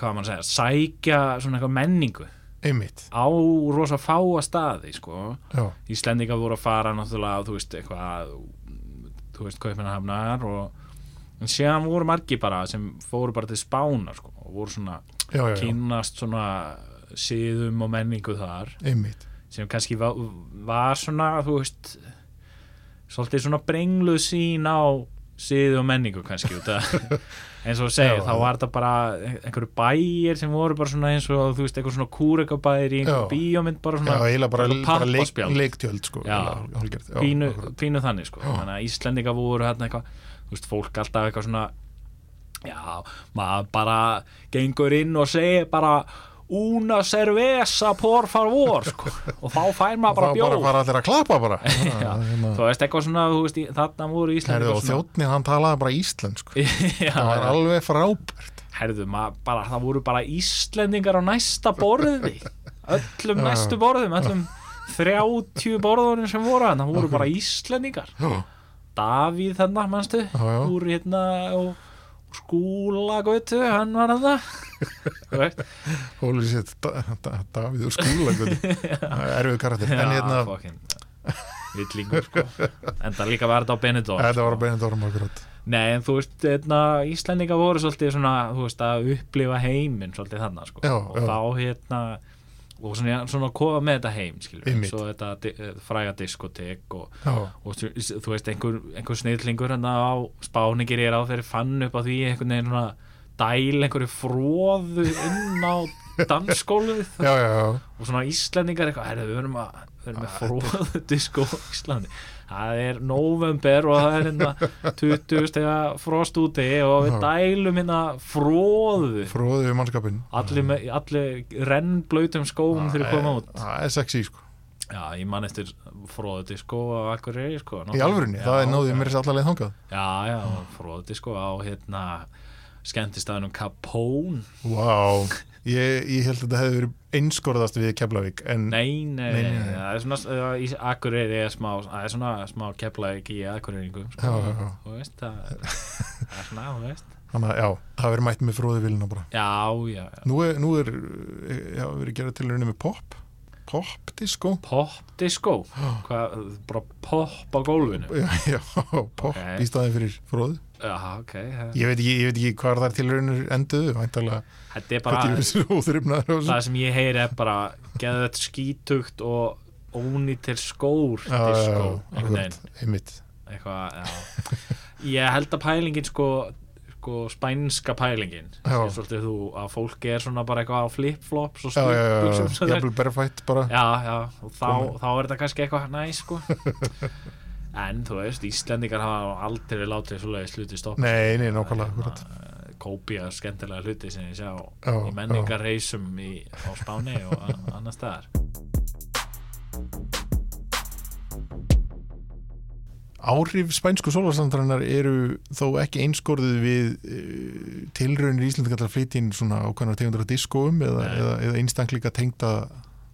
hvað á maður að segja sækja svona eitthvað menningu
einmitt
á rosa fáa staði sko
já,
Íslendingar voru að fara náttúrulega þú veist eitthvað þú veist kaupinahafnar og en séðan voru margi bara sem fóru bara til Spánar sko og voru svona
já, já, já,
kynnast svona síðum og menningu þar
einmitt
sem kannski var, var svona þú veist svolítið svona brengluð sín á siðu og menningu kannski út
(laughs)
að eins og þú segir,
Já,
þá
já.
var þetta bara einhverju bæir sem voru bara svona eins og þú veist, eitthvað svona kúrekabæir í einhverju
Já.
bíómynd bara
já,
svona
eiginlega bara,
eitthvað
bara leik,
pappaspjald.
leiktjöld sko,
Já.
eiginlega hálfgerð, já,
pínu,
akkurat.
pínu þannig sko.
Já.
þannig að Íslendinga voru hérna eitthvað þú veist, fólk alltaf eitthvað svona já, maður bara gengur inn og segir bara una cervesa por favor sko. og þá fær maður
og
bara
þá
bjór (laughs)
bara fara allir að klappa bara hérna-
Já, þú veist eitthvað svona, þú veist, í- þarna voru
Herðu,
Íslendingar
og þjóttni hann talaði bara íslensku
(laughs) Já,
það var
já.
alveg frábært
herðu, maður, bara, það voru bara Íslendingar á næsta borði öllum næstu borðum öllum 30 borðunum sem voru þannig að voru bara Íslendingar
já,
Davíð þarna, manstu
já.
úr hérna og og skúlagötu, hann var
(laughs)
þarna Þú veist,
hólu sétt Davíð
(laughs)
úr skúla erfið karakter en
já,
hérna,
fokkin villingur sko en það líka var þetta á Benidorm
þetta var
sko.
að beina dórum akkurat
Nei, en þú veist, hérna, Íslendinga voru svolítið svona, þú veist, að upplifa heiminn svolítið þannig, sko,
Já,
og
já.
þá hérna, og svona, svona kofa með þetta heim, skilur
Einmitt.
svo þetta di- eh, fræga diskotek og,
já,
og þú- þú veist, einhver, einhver snillingur hérna á spáningir er á þeirri fann upp á því einhvern veginn svona dæl einhverju fróðu inn á dansskólið
(laughs) já, já, já.
og svona Íslendingar eitthvað, herðu, við verum að við verum með fróðu disko á Íslandi það er november og það er hérna 20 stega frost úti og við
Já.
dælum hérna fróðu
fróðu við mannskapin
allir, með, allir rennblautum skóum þegar koma út
það er sexy sko
já, ég man eftir fróðu disko á Akureyri sko
í alvörunni,
Já,
það er
já.
náðið mér allarleið þangað
já, já, fróðu disko á hérna skemmtistaðunum Capone
Vá, ég, ég held að þetta hefði verið einskorðast við Keflavík en
Nei, nei,
Nei,
nei,
nei, nei.
það er svona uh, í Akureyri er smá, það er svona smá keflaðik í Akureyringum sko,
Já, já, já.
þú veist, það það er svona, þú veist
þannig að já, það verið mætt með fróðu vilina bara.
Já, já, já,
Nú er, nú er eh, já, verið gerað til rauninni með pop pop disco (laughs)
pop disco hvað, sko. bara pop á gólfinu
já, já, pop
Ok.
í staðin fyrir fróðu.
Já, ok, það-
Ég veit ekki, ég veit ekki hvað þær til rauninni enduðu, væntalega
þetta er
hvað
bara
til þessu óþrifnaður og
það sem ég heyri er bara geða þetta skítugt og ónýtir skór disco, einhvern veginn
einmitt
eitthvað, já ég held að pælingin sko, sko spænska pælingin
Já.
Sér svolítið þú að fólk er svona bara eitthvað á flip-flops og
Já, já, já, já,
slipbuxum sem þeir-
jafnvel berfætt bara
um já, já, og þá, þá er þetta kannski eitthvað næ
(laughs)
sko en þú veist, Íslendingar hafa aldrei látið svoleiðis hluti stoppa Hérna,
Nei, nei, nákvæmlega, akkurat
kópía skemmtilega hluti sem ég sjá
Já,
í menningarreisum í, á Spáni og an- annars staðar
Áhrif spænsku sólarsandarinnar eru þó ekki einskorðið við uh, tilraunir Íslandingar til að flytja inn svona ákveðnar tegundur af diskóum eða,
Nei.
eða, eða einstakleika tengda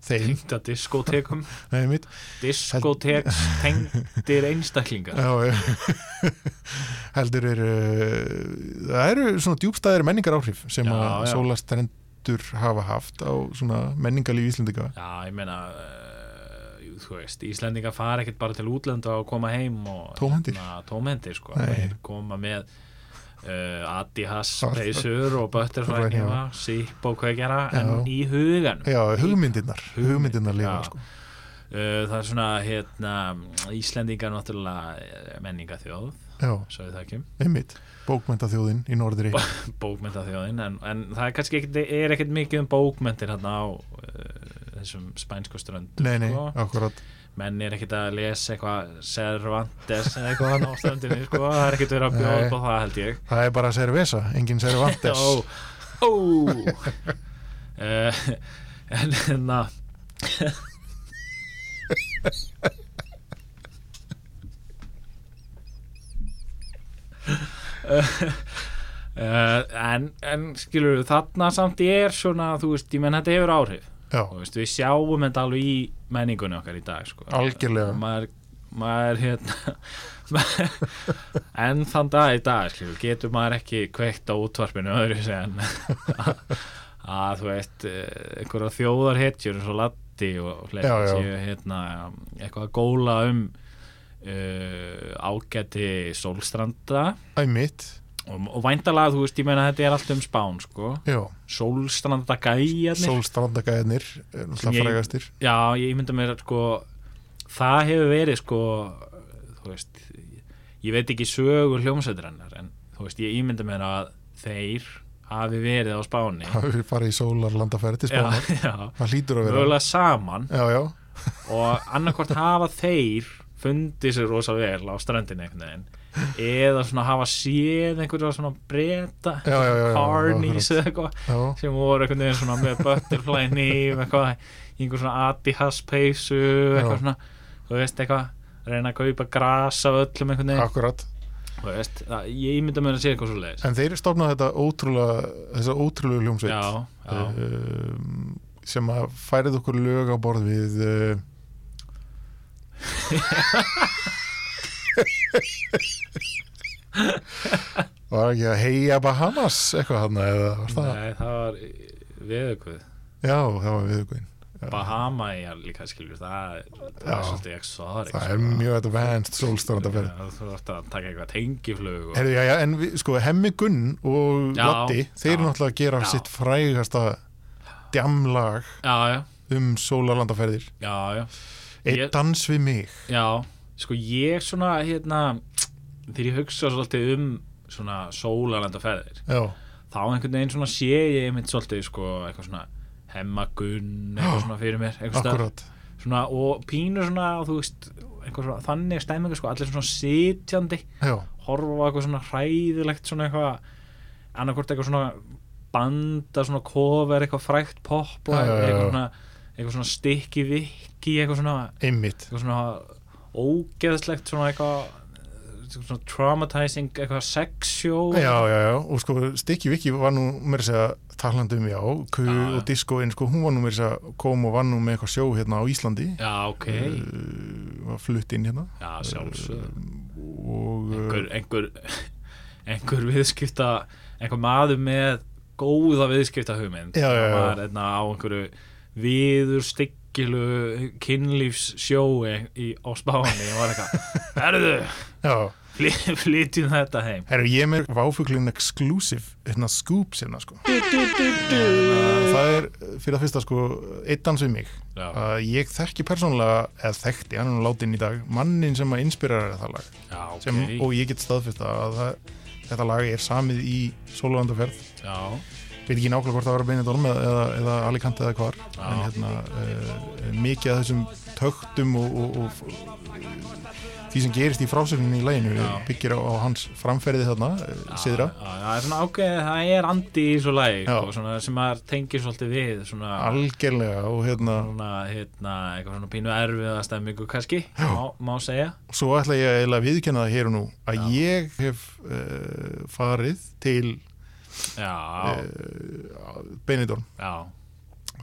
þeim,
tengda diskotekum
það er mitt
diskoteks tengdir einstaklingar
Já, já. (laughs) heldur er uh, það eru svona djúbstæðir menningar áhrif sem
Já,
að
já.
sólarstarendur hafa haft á svona menningarlíf Íslandinga
Já, ég meina uh, þú veist, Íslendingar fara ekkert bara til útlanda og koma heim og
Tómhentir.
hérna, tómhendir sko,
Nei.
Þeir koma með uh, Adidas peysur og butterfly
Butterfly hnefa.
hnefa, sípp og kveikjara en
Já.
í huganum
Já, hugmyndirnar, hugmyndirnar líka
Já.
sko.
uh, það er svona hérna, Íslendingar náttúrulega menninga þjóð,
Já,
svo við (laughs) þekkjum
einmitt, bókmentaþjóðin
(laughs)
í norðri
bókmynda þjóðin en, en það er kannski ekkert, er ekkert mikið um bókmyndir hérna á uh, þessum spænsku ströndum
Nei, nei,
sko.
akkurat
menn er ekkert að lesa eitthvað Cervantes eða eitthvað hann á ströndinni sko. það er ekkert verið að bjóða
Nei.
upp á það held ég
Það er bara Cerveza, engin Cervantes
Ó, ó uh, En hérna Uh, en, en skilur þarna samt ég er svona þú veist, ég menn þetta hefur áhrif
Já,
Þú veist, við sjáum þetta alveg í menningunni okkar í dag sko.
Algjörlega.
maður, maður hérna (laughs) en þann dag í dag skilur, getur maður ekki kveikt á útvarpinu öðru sem (laughs) að þú veist eh, einhverja þjóðarhetjur eins og Latti og fleiri
Já, já.
séu hérna eitthvað að góla um uh, ágæti sólstranda
æmitt
og, og væntalega þú veist ég meina þetta er allt um spán sko
Já,
sólstranda gæjarnir
sólstrandagæðnir
Sem
Það
ég-
frægastir
Já, ég mynda mér að sko það hefur verið sko þú veist, ég veit ekki sögur hljómsveitur hennar en þú veist, ég ímynda mér að þeir hafi verið á
(laughs)
Spáni
Það við farið í sólarlandaferð til
Já,
spánar
(laughs) já,
Það hlýtur að vera
mögulega saman
Já, já,
og annarkvort hafa þeir fundið sér rosa vel á strandinu einhvern veginn eða svona hafa séð einhverja svona breyta
Já, já, já, já,
carnies eða
akkurat.
eitthvað
já
sem voru einhvern veginn svona með butterfly nýf eitthvað, í einhver svona Adidas peysu eitthvað
Já.
svona, þú veist eitthvað reyna að kaupa gras af öllum einhvern veginn
Akkurat,
þú veist, það, ég ímynda mér að sé eitthvað svo leiðis
en þeir stofnaði þetta ótrúlega þessa ótrúlega hljómsveit
já, já,
Eh, um, sem að færið okkur lög á borð við uh, (laughs) var ekki að heia Bahamas eitthvað hann eða var það
nei, það var viðökuð,
já það var viðugvinn
Bahama ég líka skilur, það, er- það
Já.
er svolítið exotic sko.
það er mjög advanced sólstofnandaferð
Já, þú ætti að taka eitthvað tengiflug og...
Herðu, já, já, en við, sko, Hemmi Gunn og
Já,
Latti, þeir
já,
náttúrulega gera
já.
sitt frægasta djamlag
já, já,
um sólarlandaferðir
já, já
Eitt
Ég-
dans við mig
Já, sko ég svona hérna, þegar ég hugsa svolítið um svona sólalandaferðir
Já,
þá einhvern veginn svona sé ég einmitt svolítið sko eitthvað svona hemmagun eitthvað svona fyrir mér einhvers staðar.
akkurat
svona, og pínur svona þú veist, einhver svona þannig stæmingu sko allir svona sitjandi
Já,
horfa á eitthvað svona hræðilegt svona eitthvað annarkvort eitthvað svona banda svona cover eitthvað frækt pop og
Já, já, já,
eitthvað
já.
svona eitthvað svona stikki vikki eitthvað svona
einmitt
eitthvað svona ógeðslegt svona eitthvað eitthvað svona traumatizing eitthvað sex show
Já, já, já, og sko Stikki Viki var nú mér að segja talandi um já, Q
Já, já.
og diskoinn sko, hún var nú mér að segja kom og var nú með eitthvað sjó hérna á Íslandi
Já, ok
uh, var flutt inn hérna
já sjálfsög
og uh,
einhver, einhver, einhver viðskipta einhver maður með góða viðskipta hugmynd
Já, já, já.
var einna á einhverju viður styggilu kynlífs sjói í, á spáni og var eitthvað herðu,
já,
fly, flytjum þetta heim
herru ég er með váfuglin exclusive, hérna scoop sérna sko Þannig að það er uh, fyrir að fyrsta sko eitt dans við mig
já,
að ég þekki persónulega, eða þekkti, hann er nú látin í dag mannin sem að inspirera það lag
já, ok
sem, og ég get staðfyrst að það, þetta lag er samið í Sólugandaferð
já,
veit ekki nákvæmlega hvort það var að beina dólm eða, eða Alicante eða hvar en hérna, uh, mikið af þessum töktum og, og, og því sem gerist í frásögninni í læginu
Já.
byggir á, á hans framferði þarna,
Já,
uh, síðra
já, það er svona ákveðið, það er andi í svo læg
Já.
sko, svona, sem maður tengir svolítið við svona,
algjörlega og hérna
svona hérna, eitthvað svona pínu erfiða stemmingu kannski, má, má segja
svo ætla ég eiginlega að viðkenna það hér og nú að ég hef uh, farið til
já,
Eh, Benidorm
já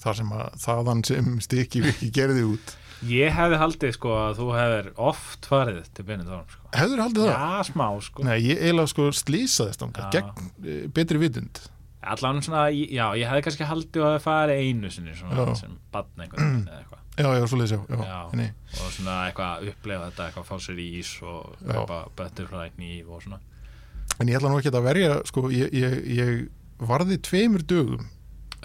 þar sem að þaðan sem (laughs) stikki viki gerði út
ég hefði haldið sko að þú hefur oft farið til Benidorm sko.
hefur haldið það?
já, smá sko
Nei, ég eiginlega sko slýsaðist þangað
Já.
gegn e, betri vitund
allan svona, já, ég hefði kannski haldið að það farið einu sinni svona,
Já.
sem badn einhvern veginn eða eitthvað
Já, já, svo lýsa, já,
Já.
Nei,
og svona eitthvað upplefa þetta, eitthvað fá sér í ís og
Já.
kaupa butterfly nýf og svona
En ég ætla nú ekki að verja, sko, ég, ég, ég varði tveimur dögum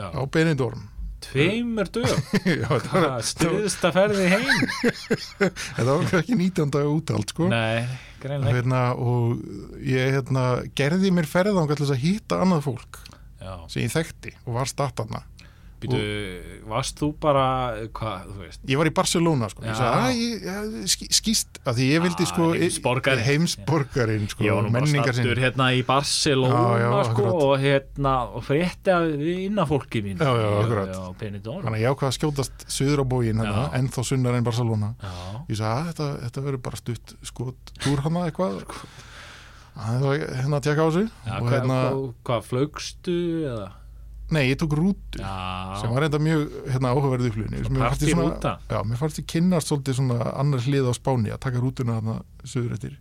á
já.
Benidorm (laughs)
tveimur dögum
Já, þetta var,
Hvað, stuðsta ferði heim
þetta var ekki 19 daga útald, sko
Nei, greinlega
hérna, Og ég hérna, gerði mér ferðangað til þess að hitta annað fólk
Já,
sem ég þekkti og var statanna
Býtu, varst þú bara, hvað, þú veist,
Ég var í Barcelona sko, ég
Já.
sagði að ég, ég ský- skýst að því ég vildi
Ah,
sko
heimsborgari.
heimsborgarin sko,
ég var nú bara
menningar
stattur
sinni.
hérna í Barcelona,
Já, já,
sko,
akkurat.
og hérna, og frétti af innafólki mín.
Já, já, akkurat.
Já, Benidorm.
Þannig að ég ákvað að skjótast söður á bógin hérna,
Já.
ennþá sunnar en Barcelona.
Já,
Ég sagði að þetta, þetta verður bara stutt skot túr hana eitthvað. Það var hérna að tjekka á sig.
já
og
hvað,
hérna,
hvað, hvað, flögstu eða?
nei, ég tók rútu sem
Já,
var enda mjög hérna, áhugaverðu upplifni.
Svona
Mér fannst ég svona-
partyrúta.
Já, mér fannst ég kynnast svolítið svona annar hlið á Spáni að taka rútuna þarna söður eftir.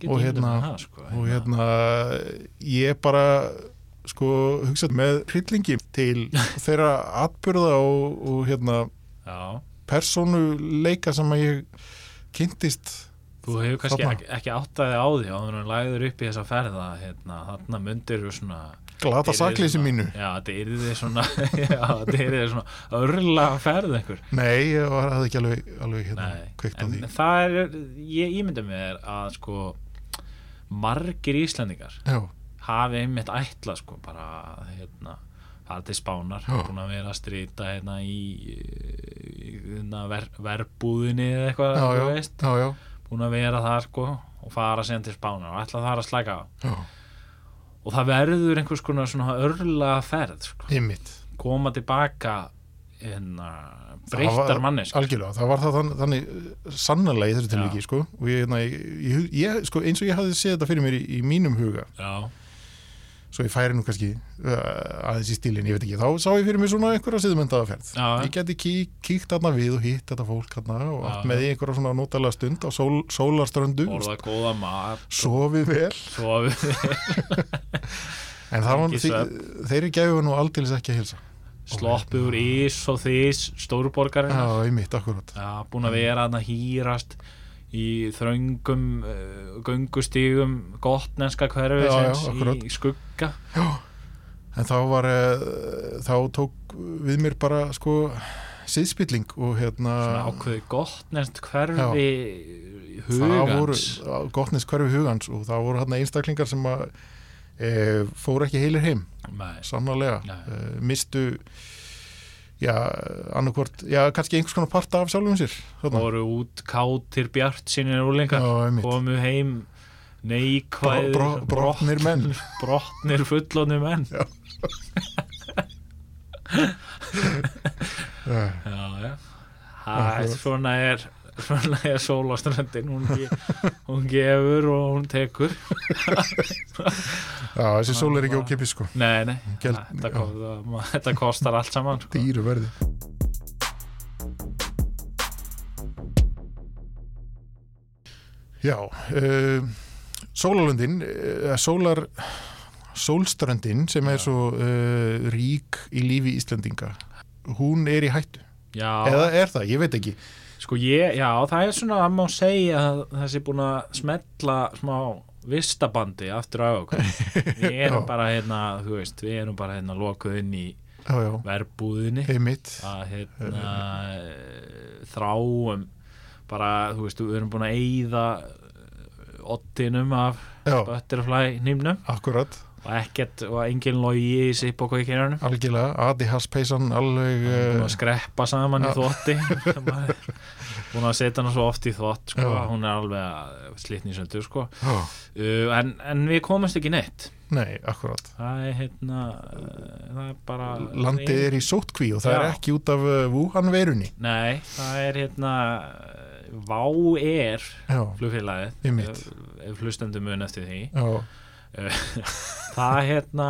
getur ímyndað
og hérna-
mér það, sko,
og hérna ég bara sko hugsað með hryllingi
(laughs)
til þeirra atbyrða og, og hérna
Já,
persónuleika sem að ég kynntist
þú hefur kannski
Þarna.
ekki, ekki áttaði á því áður en lagður upp í þessa ferða hérna, þarna mundir þú svona
glata sakleysi mínu
Já, þetta er þið svona (laughs) já, þetta er þið svona örla ferð einhver
nei, ég var það ekki alveg, alveg hérna,
Nei,
kveikt á
en
því
það er ég ímynda mér að sko margir Íslendingar
já,
hafi einmitt ætla sko bara hérna fara til Spánar,
Já.
búin að vera að strita hérna í, í hérna, ver, verbúðinni eða eitthvað
já,
þú
já,
veist,
já, já,
búin að vera það sko og fara síðan til Spánar og ætla það að slæka á
já
og það verður einhvers konar svona örla ferð sko.
ymmit
koma tilbaka hérna, breyttar mannesk
algjörlega, það var það þann, þannig uh, sannarlega í þessu tilviki sko. og ég, hérna, ég, ég, ég, sko, eins og ég hafði séð þetta fyrir mér í, í mínum huga
já,
svo ég færi nú kannski uh, aðeins í stílinn, ég veit ekki, þá sá ég fyrir mér svona einhverja siðmyndaðaferð.
Já, já.
Ég geti kí, kíkt þarna við og hitt þetta fólk þarna og
Já,
allt með í einhverja svona notalega stund á sól, sólarströndu,
orða góða mat
sofið vel,
svo
en það var,
Ekki
þi, þeirri gæfu nú aldeilis ekki að hilsa.
sloppu úr ís og þís
Já,
stórborgarinn
einmitt, akkurat.
já, búin að vera hann að hýrast í þröngum uh, göngustígum gottnenska
Já, já,
hverfisins
akkurat.
í skugga
En þá var, uh, þá tók við mér bara, sko, siðspilling og hérna...
svona ákveði gottnest hverfi
það voru
hugans
gottnins hverfi hugans og það voru hérna einstaklingar sem að e, fóru ekki heilir heim
Nei,
sannarlega
Nei.
uh, mistu já, annarkvort, já, kannski einhvers konar parta af sjálfum sér þarna.
voru út kátir bjart sínir úlingar
Já, einmitt.
komu heim neikvæðir
Bro- bro- brotnir menn.
brotnir fullonir menn já,
Eh,
(laughs) já. Það er svona er svona er sólaströndin hún, ge hún gefur og hún tekur
já, þessi sól er ekki ókipis sko
nei, nei,
Gjald-
þetta, kom, það, þetta kostar allt saman sko.
dýru verði já uh, sólalöndin uh, sólar sólströndin sem er svo uh, rík í lífi Íslendinga hún er í hættu
já,
eða er það, ég veit ekki
sko ég, já, það er svona að má segja að þessi búin að smetla smá vistabandi aftur á okkur við erum
Já.
bara hérna, þú veist, við erum bara hérna lokuð inn í
já, já,
verbúðinni
heimitt
að hérna eh, þráum bara, þú veist, við erum búin að eyða eh, odtinum af
já,
butterfly nýmnum
akkurat
og ekkert, og engin logi í sipp og kveikirjarnum
Algjörlega, ADHS peysan alveg
búin
uh,
að skreppa saman
Já.
í
(laughs)
þvotti búin að setja hana svo oft í þvott sko.
Já.
hún er alveg að slitni í söndur sko.
já,
uh, en, en við komumst ekki neitt
Nei, akkurat
það er hérna uh, það er bara
Landið er í sótkví og það
Já.
er ekki út af uh, Wuhan veirunni
nei, það er hérna uh, Vá er
Já,
flugfélagið
Einmitt.
ef- ef hlustendum mun eftir
(laughs)
því
já,
það hérna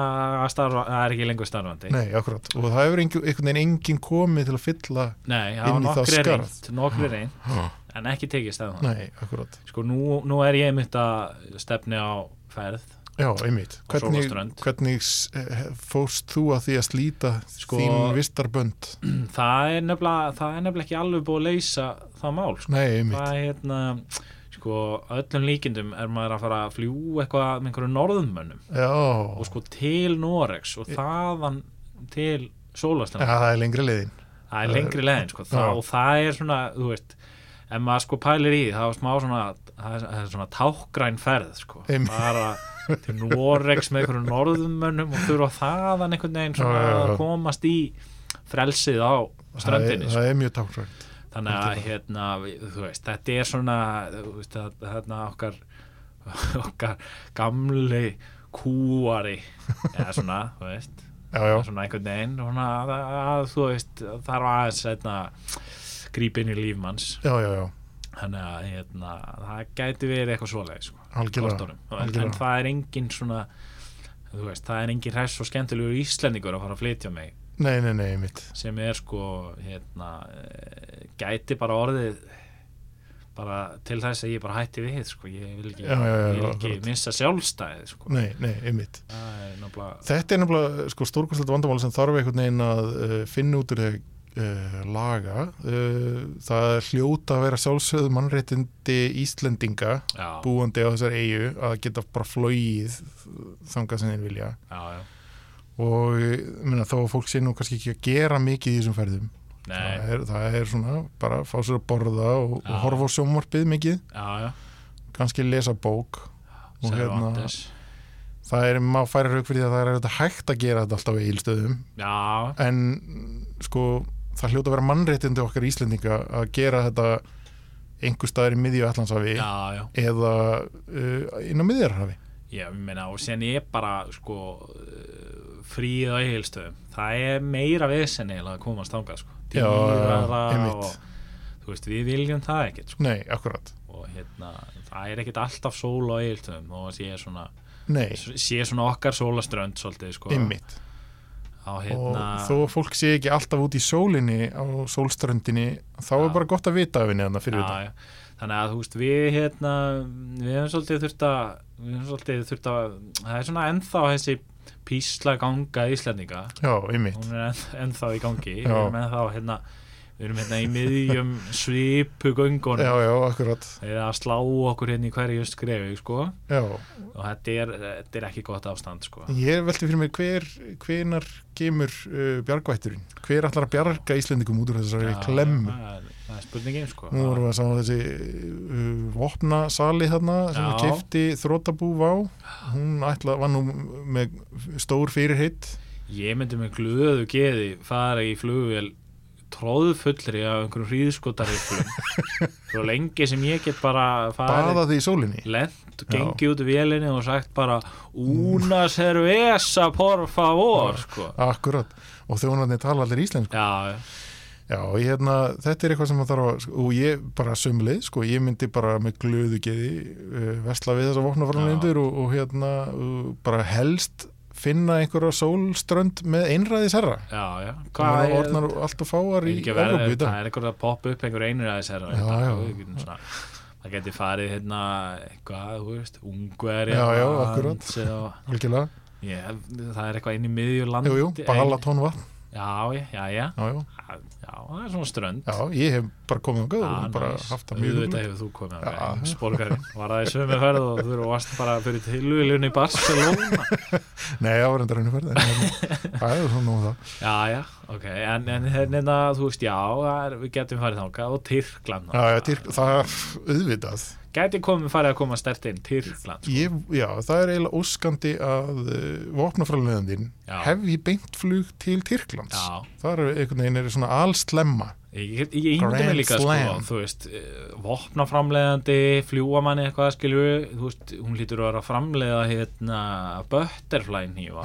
starfa, það er ekki lengur starfandi
nei, akkurat Og það hefur engin, einhvern veginn engin komið til að fylla
Nei, það var
Inn í það
nokkri
skarð.
reynd nokkri reynd,
Já.
en ekki tekist eða það
Nei, akkurat
Sko nú, nú er ég mitt að stefni á ferð (clears throat)
Já, einmitt
Og
Hvernig,
sólarströnd.
hvernig s- eh, fórst þú að því að slíta
Sko-
þín vistarbönd?
Það er nefnilega, það er nefnilega ekki alveg búið að leysa það mál sko.
Nei, einmitt
Það er hérna sko að öllum líkindum er maður að fara að fljú eitthvað með einhverju norðmönnum
Já,
og sko til Norex og þaðan til
ja,
Sólastrand
það er lengri leiðin
það er lengri leiðin sko það,
Eh, Já.
og það er svona, þú veist ef maður sko pælir í því, það var smá svona það er, það er svona tákgræn ferð sko.
Einmitt.
bara til Noregs með einhverjum norðumönnum og þurfa þaðan einhvern veginn svona
Já, já, já.
að komast í frelsið á ströndinni
það, er-
sko.
það er mjög tákrænt
þannig að hérna, við- þú veist, þetta er svona þú veist, það- þarna okkar (laughs) okkar gamli kúari eða svona, þú veist
já, já,
svona einhvern veginn svona, að, að, þú veist, þarf aðeins hérna, grípa inn í líf manns
já, já, já,
þannig að hérna, það gæti verið eitthvað svoleið sko,
algjörlega
kortunum. en, en
algjörlega,
það er engin svona þú veist, það er engin hress og skemmtilegur íslendingur að fara að flytja mig
nei, nei, nei, mitt
sem er sko hérna, eh, gæti bara orðið bara til þess að ég bara hætti við sko. ég vil ekki,
Já, já, já,
ég vil ekki
akkurat.
missa sjálfstæði sko.
nei, nei, mitt
það er náttúrulega
þetta er nefnilega sko stórkostlegt vandamáli sem þarf einhvern veginn að uh, finna út úr þegar uh, laga uh, það er hljóta að vera sjálfsögð mannréttindi Íslendinga
já,
búandi á þessar eigu að geta bara flóið þangað sem þeir vilja
já, já.
og ég meina, þá að fólk sé nú kannski ekki að gera mikið í þessum ferðum
Nei,
það er, það er svona bara fá sér að borða og,
Já.
og horfa á sjónvarpið mikið
já, já,
kannski lesa bók og hérna,
Cervantes.
það er, maður færi rauk fyrir því að það er auðvitað hægt að gera þetta alltaf í ílstöðum
Já,
en sko það hljóta að vera mannréttindi okkar Íslendinga að gera þetta einhver staðar í miðju allansafi
já, já,
eða uh, inn á miðjarhafi
ég meina og sen ég bara sko eh, fríð á eigilstöðum það er meira vesen eiginlega að komast þangað sko,
Já, já,
Dýrara
einmitt.
og þú veist, við viljum það ekkert sko.
nei, akkurat,
og hérna, það er ekkert alltaf sól á eigilstöðum og sé svona,
nei,
sé svona okkar sólaströnd svolítið sko
ymmit
á
og
hérna,
þó að fólk sé ekki alltaf út í sólinni á sólströndinni þá er
Já.
bara gott að vita af henni þannig fyrir
já, já. þannig að þú veist, við hérna, við hefum svolítið þurft að við hefum svolítið þurft að það er svona ennþá þessi písla ganga Íslandinga
þetta já, ymmit,
hún er enn- ennþá í gangi
Já.
við erum ennþá hérna við erum hérna í miðjum svipugöngunum
já, já, akkurat
eða að slá okkur hérna í hverju skrefi sko.
já,
og þetta er, þetta er ekki gott ástand sko.
Ég velti fyrir mér hver, hvenar kemur uh, bjargvætturinn? Hver ætlar að bjarga Íslendingum út úr þessari
Já,
klemmu?
það er- það er spurningin sko.
Nú vorum við að sama þessi uh, vopna sali þarna sem
Já.
kefti þrótabú vá hún ætla, var nú með stór fyrirhitt
ég myndi með glöðu geði fara í flugvél tróðfullri af einhverjum hríðskotariflum
(laughs)
svo lengi sem ég get bara farið
baða því í sólinni
lent og
Já. Mm.
gengið út í vélinni og sagt bara una cerveza por favor sko.
Akkurat, og þjónarnir tala allir íslensku
já, já
Já, ég hérna, þetta er eitthvað sem maður þarf að sko, og ég bara sömlið, sko, ég myndi bara með glöðu geði uh, vesla við þessa vopnaframlendur og, og hérna uh, bara helst finna einhverja sólströnd með einræðis herra
Já, já.
það
er-
er orðnar allt og fáar í
er ekki hérna. verið-
Evrópu í dag
Það er eitthvað að poppa upp einhver einur aðeins hér.
Já, já.
Það geti farið hérna, eitthvað, þú veist, ungverja.
Já, já, akkurat.
Og,
algjörlega,
ég, það er eitthvað inn í miðjurland.
jú, jú, balatón vatn
Já, já, já, já.
já, já,
Já, það er svona strönd.
já, ég hef bara komið um göð
Ah,
og bara
nice.
haft það mjög
Auðvitað
gott.
hefur þú komið
Já.
að heimsborgarinn. Var það í sömu ferð og þú varst bara fyrir tilvílun í Barcelona.
Nei, það var enda raunum ferð en
(laughs)
hérna, það er svona nú það
Já, já, ok. En, en hérna, þú veist, já, það er, við getum farið þangað og Tyrkland.
Já, já, Tyrk- það, auðvitað
gæti komið farið að koma stert inn Tyrkland sko.
Ég, já, það er eiginlega óskandi að uh, vopnafræðleðandinn
Já.
hefði beint flug til Tyrklands.
Já.
Það er einhvern veginn er svona allslemma.
ég, ég, ég ímyndi
Grand
mig líka
slam.
sko, þú veist, eh, vopnaframleiðandi fljúamanni eitthvað skilju þú veist, hún lítur að vera að framleiða hérna, butterfly nýfa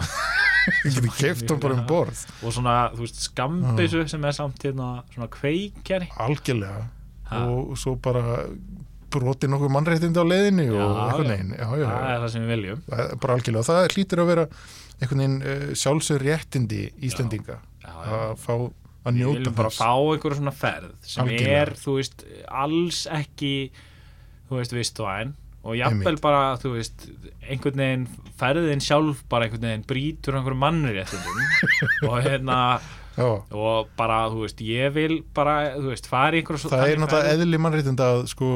Ég geti keft hún bara um borð.
og svona, þú veist, skambissu
Mm.
sem er samt hérna, svona kveikjari
Algjörlega.
Ha.
Og svo bara broti nokkuð mannréttindi á leiðinni
Já,
og einhvern
já.
veginn. Já, já,
það er það sem við viljum
Það er bara algjörlega. Það hlýtur að vera einhvern veginn uh, sjálfsögur réttindi Íslendinga
já, já.
að fá að
við
njóta
viljum bara fá einhverja svona ferð sem
Algjörlega.
er, þú veist, alls ekki þú veist, vistvæn og jafnvel
Einmitt.
bara, þú veist einhvern veginn, ferðin sjálf bara einhvern veginn brýtur einhverjum
(laughs)
mannréttundum og hérna
Já,
og bara, þú veist, ég vil bara, þú veist, fara í einhverjum
það er náttúrulega eðli mannréttinda að sko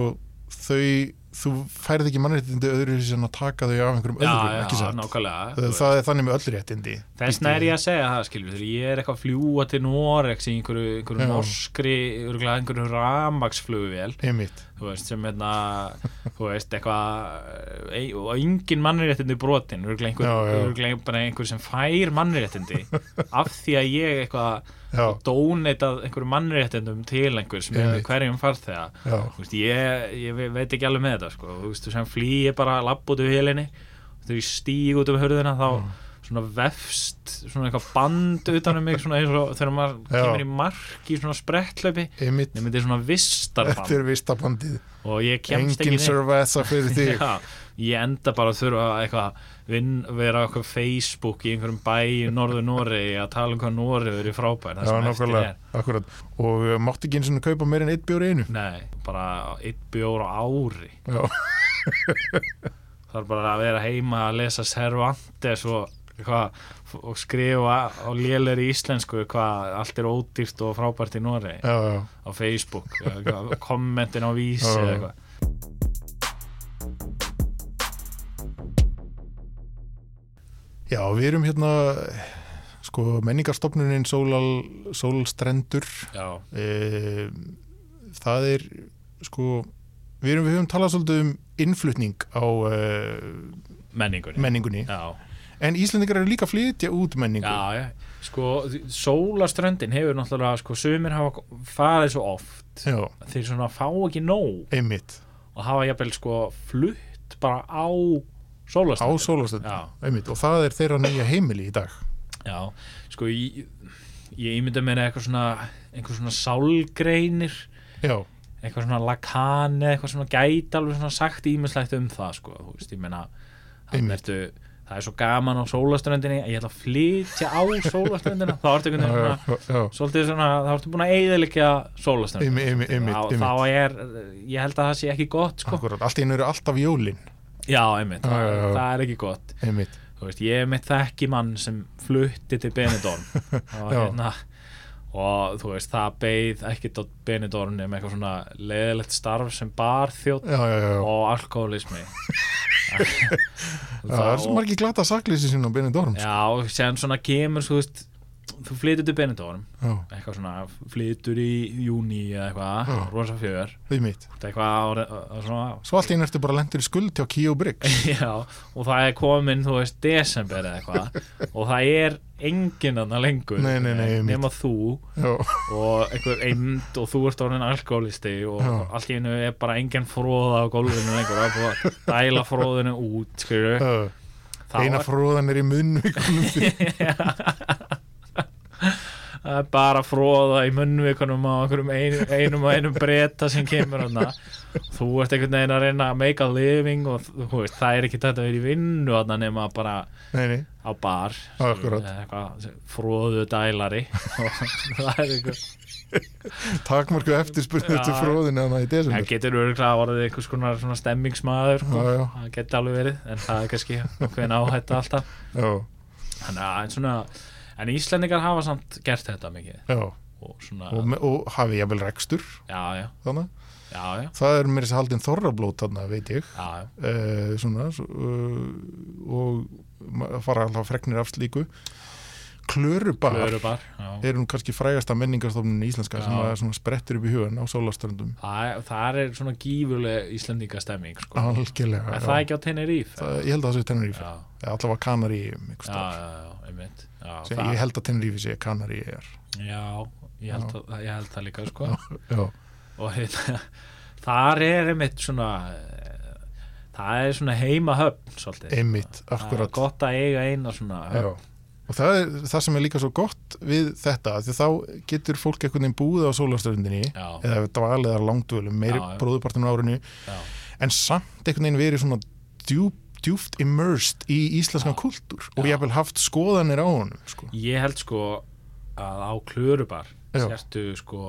þau þú færið ekki mannréttindi öðru sem að taka þau af einhverjum
já,
öðrum,
já,
ekki satt?
nákvæmlega
Það,
þú veist.
það er þannig með öll réttindi.
Þessna er ég að segja það, skilur þegar ég er eitthvað að fljúa til Norex í einhverju, einhverju
Já.
norskri, örgulega einhverju ramagsflugvél,
Einmitt.
þú veist, sem hérna, þú veist, eitthvað e- og engin mannréttindi brotin, örgulega einhver,
Já, já.
örugglega bara einhver sem fær mannréttindi
(laughs)
af því að ég eitthvað
Já,
dóneitað einhverju mannréttindum til einhvers með
Einmitt.
hverjum farþega
já,
Þú veist, ég, ég ve- veit ekki alveg með þetta sko. þú veist, þú sem flýi bara lapp út af helinni þegar ég stíg út af hörðina þá
Mm.
svona vefst svona eitthvað band utan um mig svona eins og þegar maður
Já.
kemur í mark í svona sprettlaupi
einmitt.
nema þetta er svona
Þetta
vistarband
er vistabandið.
og ég kemst
Engin
ekki neitt
servessa
(laughs)
fyrir þig.
Já, ég enda bara að þurfa að eitthvað vinn, vera á eitthvað Facebook í einhverjum bæ í norður Nóri að tala um hvað Nóri er frábær það
Já,
sem eftir
nákvæmlega, akkurat. Og uh, mátti ekki eins og kaupa meir en eitt bjór í einu.
er nei, bara eitt bjór á ári
Já,
(laughs) Það er bara að vera heima að lesa Cervantes og, hvað, og skrifa á léleri íslensku hvað allt er ódýrt og frábært í Noregi
já, já.
á Facebook, eða hvað, (laughs) kommentin á vísi
Já.
eða eitthvað.
Já, við erum hérna, sko, menningarstofnunin Sólal, Sólstrendur.
Já,
E, það er, sko, við erum, við höfum talað svolítið um innflutning á e,
menningunni.
menningunni.
já,
En Íslendingar eru líka að flytja út menningu.
já, já. Sko, því- sólaströndin hefur náttúrulega, sko, sumir hafa farið svo oft.
Já,
Þeir svona fá ekki nóg
einmitt.
og hafa jafnvel, sko, flutt bara á
Á
sólaströndin.
Sólastrendur.
Já.
Einmitt. Og það er þeirra nýja heimili í dag.
Já, sko ég, ég ímynda mér eitthvað svona eitthvað svona sálgreinir
Já,
eitthvað svona lakani eitthvað svona gæti alveg svona sagt ímislegt um það sko, þú veist, ég meina það,
Einmitt.
ertu, það er svo gaman á sólaströndinni ég ætla að flytja á
(laughs)
sólaströndina þá ertu einhvern veginn svona
já, já.
svolítið svona, þá ertu búin að eyðilegja
Einmi-
sólaströndina
einmi- einmitt,
þá,
einmitt.
þá er, ég held að það sé ekki gott sko.
Akkurat, allt í einu eru alltaf jólin
já, einmitt,
Já, já, já.
það er ekki gott
einmitt.
þú veist, ég er mitt þekki mann sem flutti til Benidorm og,
(laughs) Já.
hérna, og þú veist, það beið ekkit á Benidorm nema eitthvað svona leðilegt starf sem barþjótt
Já, já, já, já.
og
(laughs)
alkoholismi
Já, það er svo margir glata saklýsi sín á Benidorm sko.
Já, og sem svona kemur, þú veist þú flytur til Benidorm
Já,
eitthvað svona, flytur í júni eða eitthvað,
Já.
rosa fjör
einmitt.
þetta er eitthvað árið- og- og svona
Svo allt í einu ertu bara lendur í skuld hjá Kio Briggs
(laughs) Já, og það er komin, þú veist, desember eða eitthvað og það er enginn annað lengur
Nei, nei, nei, einmitt.
nema þú
Já,
og einhver eind og þú ert orðin alkoholisti og
Já.
allt í einu er bara engin fróða á gólfinu lengur það er búið að dæla fróðinu út skilur
já. Eina fróðan er í munnvikunum þín.
það er bara fróða í munnvikunum á einhverjum einum, einum og einum breyta sem kemur hann þú ert einhvern veginn að reyna að make a living og þú veist, það er ekki þetta að vera í vinnu þarna nema bara
Nei, nei,
á bar
Akkurat.
eða eitthvað, fróðu dælari (laughs) og það er einhver
takmarku eftirspurnu
Já.
til fróðinu þannig í
Það
desember
getur örgulega orðið einhvers konar svona stemmingsmaður sko.
Já, já.
það getur alveg verið en það er kannski hvernig áhætta alltaf
Já,
Þannig að en svona en Íslendingar hafa samt gert þetta mikið
já,
og svona,
og, me- og hafi ég vel rekstur
já, já,
þannig,
já, já,
það er mér þessi haldin þorrablót þannig, veit ég
já, já.
eh, svona svo, eh, og ma- fara alltaf freknir af slíku Klörubar
Klörubar, já.
er hún kannski frægasta menningarstofnun íslenska sem
Já.
að svona sprettur upp í hugan á sólastöndum
Það, er- það er svona gífurleg Íslendinga stemming sko.
algjörlega
er
já.
það ekki á Tenerife?
Það- ég held að það sé Tenerife
já,
Eða allavega Kanarí einhvers
já,
staðar.
já, já, einmitt já,
Sem
það,
ég held að Tenerife sé Kanarí er
já, ég held, að, ég held það líka sko.
já,
og hérna, (laughs) þar er einmitt svona eh, það er svona heimahöfn svolítið
einmitt,
það er
akkurat
gott að eiga eina svona höfn.
já. og það er það sem er líka svo gott við þetta, því þá getur fólk einhvern veginn búið á sólastöndinni
Já.
eða dvalið að langdvölum, meir
Já, já.
bróðupartinu árinu
Já.
en samt einhvern veginn verið svona djúp, djúft immersed í íslenskan kultúr
Já.
og ég hef haft skoðanir á honum sko.
ég held sko að á klörubar
Já.
sértu sko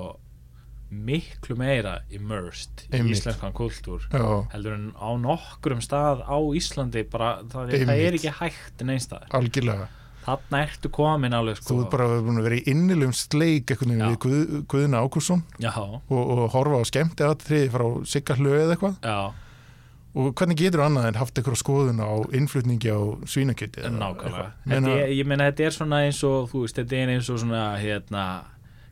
miklu meira immersed í
Einmitt.
íslenskan kultúr
Já,
heldur en á nokkrum stað á Íslandi bara það, er- það
Einmitt.
er ekki hægt neinstæðar
algjörlega
þarna ertu komin alveg
Þú
sko
ert bara búin að vera í innilum sleik einhvern
Já.
veginn við Guð, Guðina Ákusson
já,
og, og horfa á skemmti aðtriði frá Sigga Hlöð eða eitthvað
já,
og hvernig getur annað en haft eitthvað skoðun á innflutningi á svínakjöti eða
Nákvæmlega
eitthvað? Ég
Þetta
meina-
er- Ég meina þetta er svona eins og þú veist, þetta er eins og svona hérna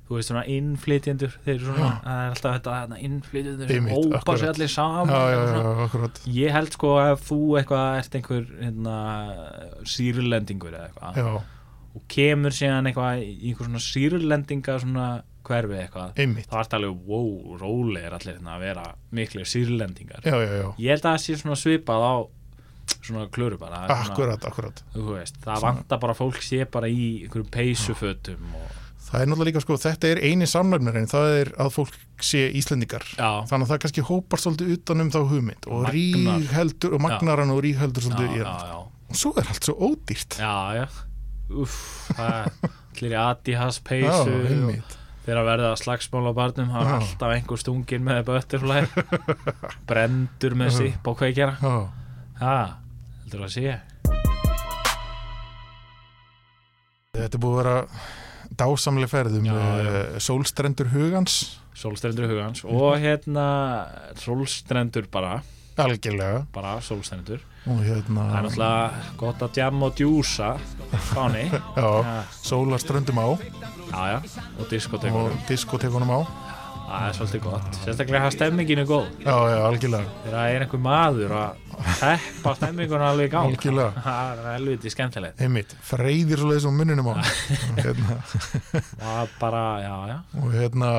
þú veist svona innflytjendur þeir eru svona, það er alltaf þetta hérna, innflytjendur sem
Einmitt,
hópa
akkurat.
sér allir saman
já,
og
já, já,
svona.
akkurat
Ég held sko að ef þú eitthvað ert einhver hérna, sýrlendingur eða eitthvað
já,
og kemur síðan eitthvað í einhver svona sýrlendinga svona hverfi eitthvað
einmitt,
þá ert alveg, wow, róli er allir hérna að vera miklu sýrlendingar
já, já, já
Ég held að það sé svona svipað á svona klöru bara það er svona-
akkurat, akkurat
þú veist, það vantar bara að fólk sé bara í einhverjum peysufötum og
það er náttúrulega líka sko, þetta er eini samlefnir en það er að fólk sé Íslendingar
Já.
þannig að það kannski hópar svolítið utan um þá hugmynd og
Magnar.
rígheldur og magnar hann og
já,
rígheldur svolítið í
já,
hann.
já,
og svo er allt svo ódýrt
já, já. Uff, það er allir í Adidas peysu og
einmitt
þegar að verða slagsmál á barnum það er
Já.
alltaf einhver stungin með
(laughs)
butterfly brendur með sipp og kveikjara
já,
já, heldur að sé
þetta er búið að vera dásamlega ferðum
Já, já.
uh, sólstrendur hugans
sólstrendur hugans og hérna sólstrendur bara
algjörlega
bara sólstrendur
og hérna
það er náttúrulega gott að djam og djúsa
(laughs)
fáni
já,
já,
sólarströndum á
já, já, og diskotekunum
og diskotekunum á
Það er svolítið gott. Sérstaklega að stemningin er góð.
já, já, algjörlega,
Þegar það er einhver maður að heppa stemninguna alveg í
(laughs)
gang.
algjörlega
Það er helviti skemmtilegt.
einmitt, freyðir svo leiðis á munninum á Og hérna,
Það er bara, já, já.
og hérna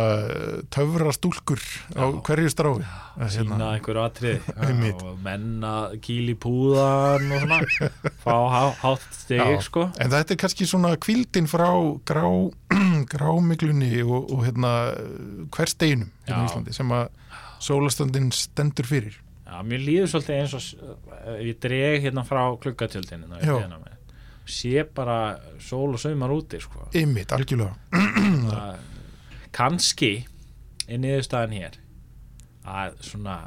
töfra stúlkur á hverju strái Að
Sýna
hérna,
einhverju atrið.
(laughs) Einmitt.
Og menna kýl í púðan og
(laughs)
svona. Fá há- hátt
Já.
stig, sko.
en þetta er kannski svona kvildin frá grá, (clears throat) grámiglunni og, og hérna hversteginum
Já.
hérna á Íslandi sem að sólastöndin stendur fyrir
Já, mér líður svolítið eins og s- ef ég dreg hérna frá klukkatöldinu.
Já.
hérna Sé bara sól og saumar úti, sko.
einmitt, algjörlega
Það- kannski er niðurstaðan hér að svona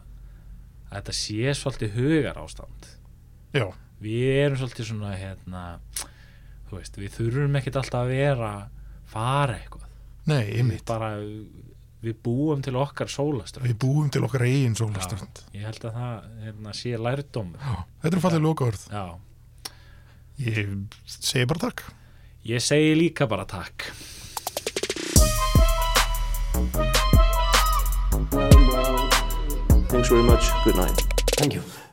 að þetta sé svolítið hugar ástand
já,
við erum svolítið svona hérna þú veist, við þurfum ekkert alltaf að vera fara eitthvað
nei,
við,
einmitt
bara, við búum til okkar sólaströnd
við búum til okkar eigin sólastönd
ég held að það hérna, sé lærdóm
þetta er fallið lokaverð
já.
ég segi bara takk
ég segi líka bara takk
Thanks very much. Good night.
Thank you.